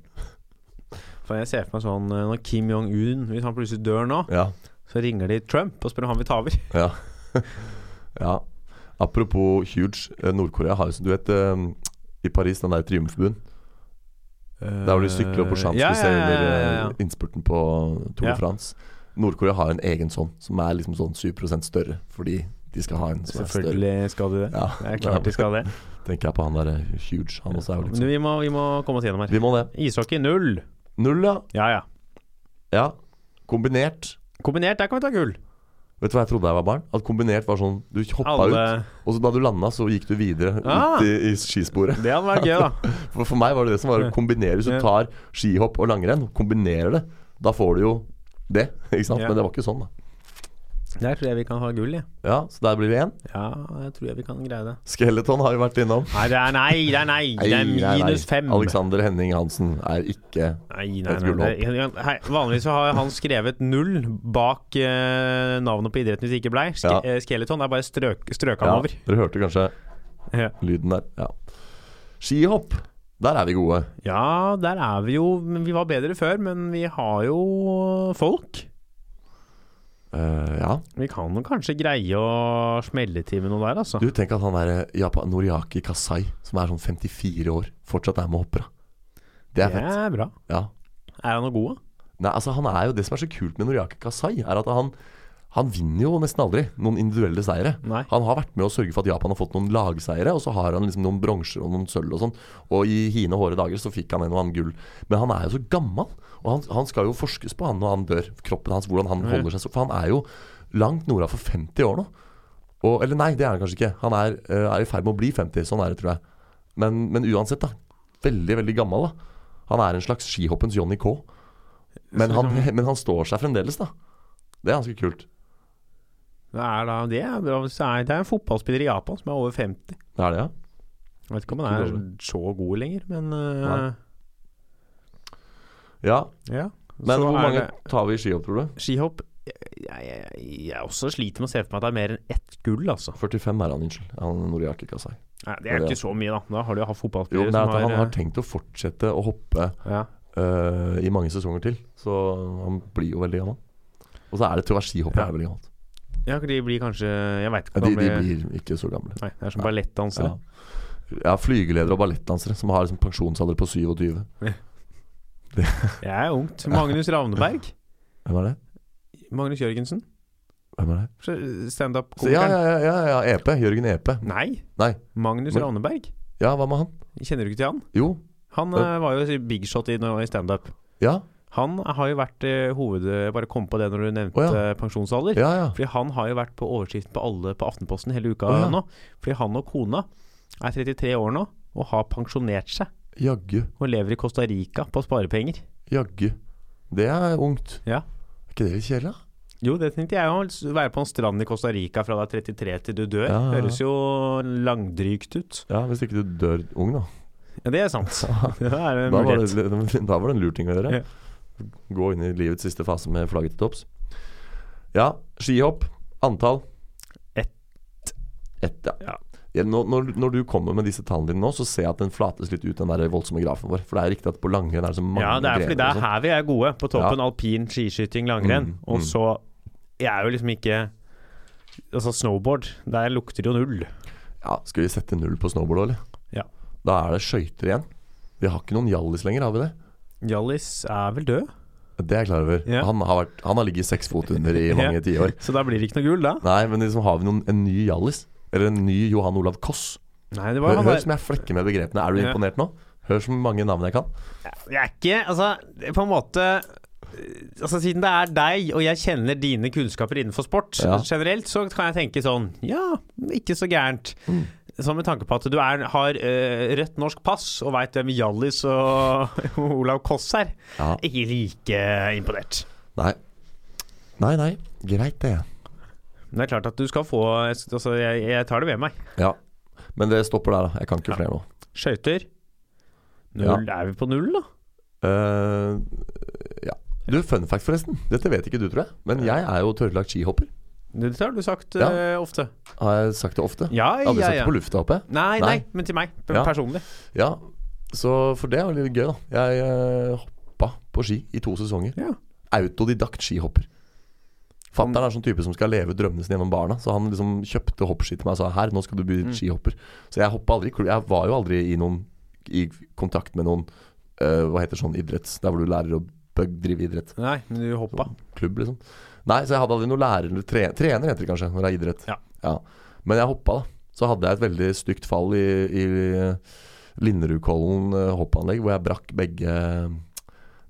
For jeg ser for meg sånn eh, når Kim Jong-un Hvis han plutselig dør nå, Ja. så ringer de Trump og spør om han vil ta over. ja. ja. Apropos huge. eh, Nord-Korea har jo som du vet eh, i Paris, den der triumfbuen. Der hvor de sykler opp på ja, ja, Champs-Élysées Eh, ja, ja, under ja, ja. eh, innspurten på Tour de Ja. France. Nord-Korea har en egen sånn, som er liksom sånn 7 større, fordi de skal ha en som er større. Selvfølgelig skal de det. Ja, Det er klart de skal det. tenker jeg på han der eh, huge. Han også er jo Men liksom vi må, vi må komme oss gjennom her. Vi må det. Ishockey null. Null, ja. Ja ja. ja. Kombinert. Kombinert, der kan vi ta gull. Vet du hva jeg trodde da jeg var barn? At kombinert var sånn Du hoppa ut. Alle Og så da du landa, så gikk du videre Ah. ut i, i skisporet. Det hadde vært gøy, da. For, for meg var det det som var å kombinere. Hvis du Ja. tar skihopp og langrenn, kombinerer det, da får du jo det. Ikke sant? Ja. Men det var ikke sånn, da. Der tror jeg vi kan ha gull, jeg. Ja, Så der blir det én. Ja, jeg tror jeg vi kan greie det. Skeleton har jo vært innom. Nei, det er nei, det er nei. Det er Nei, nei, nei. minus fem. Alexander Henning Hansen er ikke Nei, nei, Et nei, gull nei. Hei, Vanligvis så har han skrevet null bak eh, navnet på idretten hvis det ikke blei. Ske Ja. eh, Skeleton er bare strøk, strøka ja, han over. Dere hørte kanskje Ja. lyden der. Ja. Skihopp, der er vi gode. ja, der er vi jo men Vi var bedre før, men vi har jo folk. Eh, ja. Vi kan jo kanskje greie å smelle til med noe der, altså. Du, tenk at han der eh, Japa Noriaki Kasai, som er sånn 54 år, fortsatt er med hoppere. Det er det fett. er bra. Ja. Er han noe god, da? Nei, altså han er jo Det som er så kult med Noriaki Kasai, er at han Han vinner jo nesten aldri noen individuelle seire. Nei. Han har vært med å sørge for at Japan har fått noen lagseiere, og så har han liksom noen bronser og noen sølv og sånn. Og i hine håre dager så fikk han en og annen gull. Men han er jo så gammel, og han, han skal jo forskes på han når han dør. Kroppen hans, hvordan han holder seg så For han er jo langt norda for 50 år nå. Og, eller nei, det er han kanskje ikke. Han er, eh, er i ferd med å bli 50, sånn er det, tror jeg. Men, men uansett, da. Veldig, veldig gammel, da. Han er en slags skihoppens Johnny K. Men han, men han står seg fremdeles, da. Det er ganske kult. Det er da det er, bra. Så er- det er en fotballspiller i Japan som er over 50. Det er det, ja. Jeg vet ikke om han er så god lenger, men øh, Ja, ja. Men Så hvor er mange det tar vi i skihopp, tror du? Skihopp jeg, jeg, jeg, jeg også sliter med å se for meg at det er mer enn ett gull, altså. 45 er han, unnskyld. Han Noriaki Kasai. Nei, det er Ja. ikke så mye, da. Da har du hatt Jo, fotballspillere men det er eh, at han som eh, har tenkt å fortsette å hoppe ja. øh, i mange sesonger til. Så han blir jo veldig gammel. Og så er det tror jeg skihoppere Ja. er veldig gammelt. ja, de blir kanskje Jeg veit ikke Ja, de, de gamle- blir ikke så gamle. Nei, det er som Ja. ballettdansere. Ja. ja, flygeledere og ballettdansere som har liksom pensjonsalder på 27. Jeg er ungt. Magnus Ravneberg. Hvem er det? Magnus Jørgensen. Hvem er det? Så, ja, Standup-komikeren. ja, ja, ja, ja, EP. Jørgen EP. Nei. Nei. Magnus Men- Ravneberg. Ja, hva med han? Kjenner du ikke til han? Jo. Han Ja. eh, var jo big shot i, nå i standup. Ja. Han har jo vært eh, hoved... Jeg bare kom på det når du nevnte Å, eh, pensjonsalder. Ja, ja. Fordi han har jo vært på overskriften på alle på Aftenposten hele uka Å, ja. nå. Fordi han og kona er 33 år nå og har pensjonert seg. Jaggu. Og lever i Costa Rica på sparepenger. Jaggu. Det er ungt. Ja. Er ikke det litt kjedelig, da? Jo, det tenkte jeg òg. Være på en strand i Costa Rica fra du er 33 til du dør. Ja, ja, ja. Høres jo langdrygt ut. Ja, hvis ikke du dør ung, da. Ja, det er sant. Det er en Da var, mulighet. det, da var det en lur ting å gjøre. Gå inn i livets siste fase med flagget til topps. Ja, skihopp. Antall? Ett. Ett, ja. Ja. Ja, Når, når, når du kommer med disse tallene dine nå, så ser jeg at den flates litt ut, den der voldsomme grafen vår. For det er riktig at på langrenn er det så mange Ja, det er fordi det er og sånn. her vi er gode. På toppen alpin, skiskyting, langrenn. Mm, mm. Og så Jeg er jo liksom ikke Altså, snowboard, der lukter det jo null. Ja, Skal vi sette null på snowboard, eller? Ja. Da er det skøyter igjen. Vi har ikke noen Hjallis lenger, har vi det? Hjallis er vel død, Det er jeg klar over. Ja. Han, har vært, han har ligget seks fot under i mange Ja. tiår. så da blir det ikke noe gull, da. Nei, men liksom har vi noen, en ny Hjallis? Eller en ny Johan Olav Koss? Nei, det var Hør, jo han hør der som jeg flekker med begrepene. Er du Ja. imponert nå? Hør så mange navn jeg kan. Jeg er ikke Altså, det er på en måte Altså, siden det er deg, og jeg kjenner dine kunnskaper innenfor sport Ja. generelt, så kan jeg tenke sånn Ja, ikke så gærent. Mm. Sånn med tanke på at du er, har eh, rødt norsk pass og veit hvem Hjallis og Olav Koss er. Ja. Ikke like imponert. Nei. Nei, nei. Greit, det. Men det er klart at du skal få Altså, jeg, jeg tar det med meg. Ja. Men det stopper der, da. Jeg kan ikke flere nå. Skøyter. Null. Er vi på null, da? Eh, ja. Du, fun fact, forresten. Dette vet ikke du, tror jeg. Men jeg er jo tørrlagt skihopper. Det har du sagt Ja. eh, ofte. Har jeg sagt det ofte? Ja, Jeg har Aldri ja, sagt ja. det på lufta, håper jeg. Nei, nei, Nei. men til meg Ja. personlig. Ja. Så for det var litt gøy, da. Jeg eh, hoppa på ski i to sesonger. Ja. Autodidakt skihopper. Fatter'n er sånn type som skal leve drømmene sine gjennom barna. Så han liksom kjøpte hoppski til meg og sa her, nå skal du bli skihopper. Så jeg hoppa aldri. i klu- Jeg var jo aldri i noen i kontakt med noen eh, Hva heter sånn idretts Der hvor du lærer å bøgg- drive idrett. Nei, men du hoppa. Klubb, liksom. Nei, så jeg hadde aldri noen lærer eller tre, Trener heter det kanskje når det er idrett. Ja. Men jeg hoppa, da. Så hadde jeg et veldig stygt fall i, i eh, Linderudkollen eh, hoppanlegg, hvor jeg brakk begge,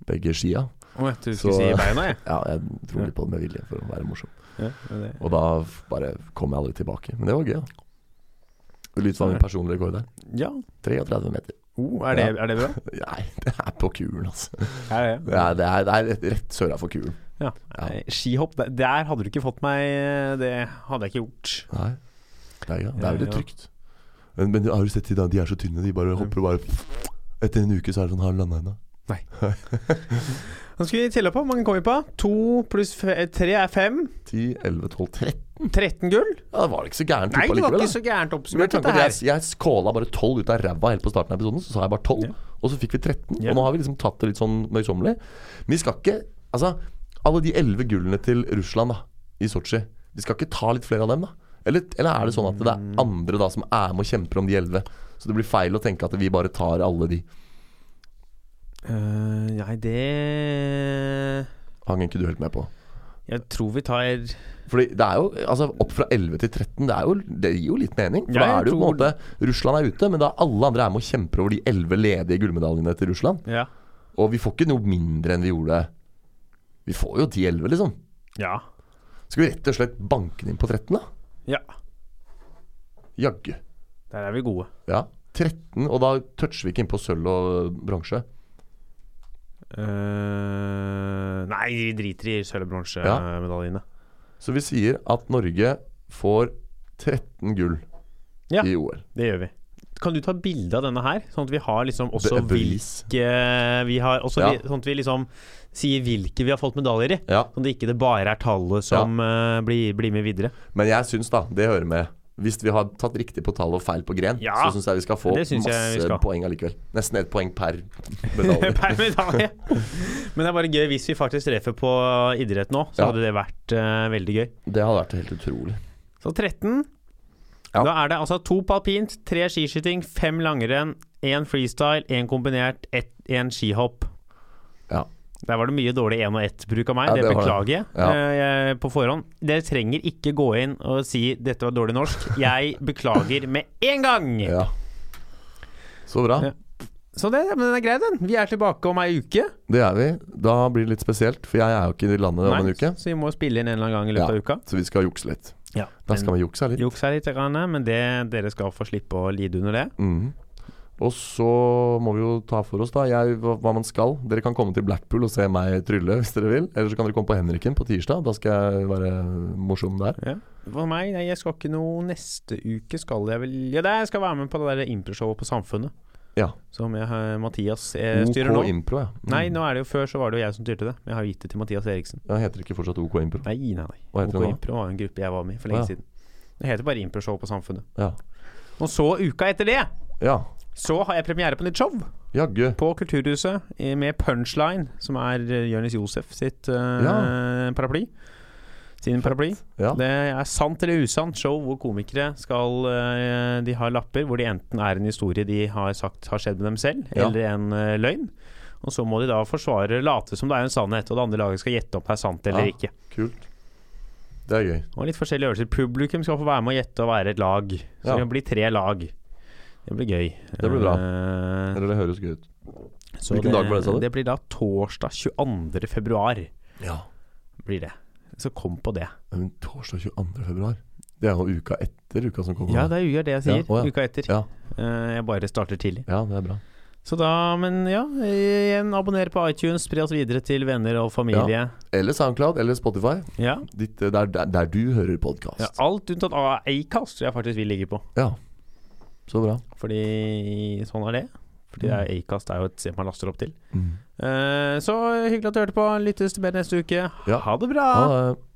begge skia. Å, jeg trodde du Så- skulle si beina, jeg. Ja, jeg dro litt på det med vilje for å være morsom. Ja, men det- Og da f- bare kom jeg aldri tilbake. Men det var gøy, da. Litt var min personlige rekord der. ja. 33 meter. Oh, er, det, er det bra? Nei, det er på kulen, altså. Er det? Det er, det er, det er rett, rett søra for kulen. Ja. Nei, Skihopp, der, der hadde du ikke fått meg eh, Det hadde jeg ikke gjort. Nei. Det er, ja, det er veldig Ja, ja. trygt. Men, men har du sett de da? De er så tynne. De bare hopper og bare Etter en uke så er det sånn Har du landa ennå? Nå skal vi telle på. Hvor mange kom vi på? To pluss fe- tre er fem. 10, 11, 12, 13 13 gull? Ja, det var ikke så gærent Nei, tippa det var likevel. ikke da. så gærent Men oppsummert, tenk på dette at her. Jeg, jeg skåla bare 12 ut av ræva helt på starten av episoden, så sa jeg bare 12. Ja. Og så fikk vi 13. Ja. Og nå har vi liksom tatt det litt sånn møysommelig. Men vi skal ikke Altså, alle de 11 gullene til Russland da i Sotsji, vi skal ikke ta litt flere av dem, da? Eller, eller er det sånn at det Mm. er andre da som er med og kjemper om de 11? Så det blir feil å tenke at vi bare tar alle de. Eh, nei, det Hang ikke du helt med på? Jeg tror vi tar Fordi det er jo altså, opp fra 11 til 13, det, er jo, det gir jo litt mening. For Ja, da jeg er det jo på en tror- måte Russland er ute, men da alle andre er med og kjemper over de 11 ledige gullmedaljene til Russland. Ja. Og vi får ikke noe mindre enn vi gjorde Vi får jo de 11, liksom. Ja. Skal vi rett og slett banke den inn på 13, da? ja. Jaggu. Der er vi gode. Ja. 13, og da toucher vi ikke inn på sølv og bronse. Eh, nei, vi driter i sølv- og Ja. bronsemedaljene. Så vi sier at Norge får 13 gull Ja. i OL. Det gjør vi. Kan du ta bilde av denne her, sånn at vi har liksom også Be- bevis. hvilke vi har også Ja. vi, Sånn at vi liksom sier hvilke vi har fått medaljer i. Ja. Sånn at det ikke det bare er tallet som eh, blir, blir med videre. Men jeg syns, da, det hører med Hvis vi har tatt riktig på tall og feil på gren, Ja, så syns jeg vi skal få det synes jeg vi masse skal. poeng allikevel. Nesten ett poeng per medalje. per medalje. Men det er bare gøy hvis vi faktisk treffer på idrett nå, så Ja. hadde det vært eh, veldig gøy. det hadde vært helt utrolig. Så 13. Ja. Da er det altså to på alpint, tre skiskyting, fem langrenn, én freestyle, én kombinert, ett- én skihopp. Ja. Der var det mye dårlig én og ett-bruk av meg, Ja, det, det var det. beklager jeg, Ja. eh, jeg på forhånd. Dere trenger ikke gå inn og si 'dette var dårlig norsk'. Jeg beklager med en gang! Ja. Så bra. Ja. Så det, men den er grei, den. Vi er tilbake om ei uke. Det er vi. Da blir det litt spesielt, for jeg er jo ikke i landet om en Nei, uke. Så vi må spille inn en eller annen gang i Ja. løpet av uka. Så vi skal jukse litt. Ja, Da skal vi jukse litt. Juks her litt, grann, men det, dere skal få slippe å lide under det. Mhm. Og så må vi jo ta for oss da jeg, hva, hva man skal. Dere kan komme til Blackpool og se meg trylle hvis dere vil. Eller så kan dere komme på Henriken på tirsdag. Da skal jeg være morsom der. Ja. For meg, nei, jeg skal ikke noe neste uke, skal jeg vel Ja, det, jeg skal være med på det der improshowet på Samfunnet. Ja. Som jeg, har- Mathias eh, OK styrer nå. impro, ja. Mm. Nei, nå er det jo før så var det jo jeg som styrte det. Men jeg har jo gitt det til Mathias Eriksen. Ja, heter det ikke fortsatt OK impro? Nei, nei, nei. Hva heter OK det nå? Impro var jo en gruppe jeg var med i for Å, lenge ja. siden. Det heter bare improshow på Samfunnet. Ja. Og så, uka etter det, ja. så har jeg premiere på nytt show Jaggu. på Kulturhuset eh, med Punchline, som er eh, Jonis Josef sitt eh, paraply. Sin paraply. Ja. Det er sant eller usant show hvor komikere skal eh, De har lapper hvor det enten er en historie de har sagt har skjedd med dem selv, Ja. eller en eh, løgn. Og så må de da forsvare late som det er en sannhet, og det andre laget skal gjette om det er sant eller Ja. ikke. Kult. Det er gøy. Og litt forskjellige øvelser. Publikum skal få være med og gjette og være et lag. Så Ja. det blir tre lag. Det blir gøy. Det blir bra. Eh, Eller det høres gøy ut. så Hvilken dag var det, sa du? Det blir da torsdag 22. februar. Ja. Blir det. Så kom på det. Men torsdag 22. februar. Det er jo uka etter uka som kommer. Ja, det det er jo det jeg sier. Ja, å ja. Uka etter. Ja. Eh, jeg bare starter tidlig. ja, det er bra. Så da, men ja, igjen, abonner på iTunes, spre oss videre til venner og familie. Eller SoundCloud eller Spotify. Ja. Ditt, eh, der, der, der du hører podkast. ja. Alt unntatt av Acast tror jeg faktisk vi ligger på. Ja. Så bra. Fordi sånn er det. Fordi det er Acast er jo et sted man laster opp til. Mm. Eh, så hyggelig at du hørte på. Lyttes til mer neste uke. Ja. Ha det bra! Ha det.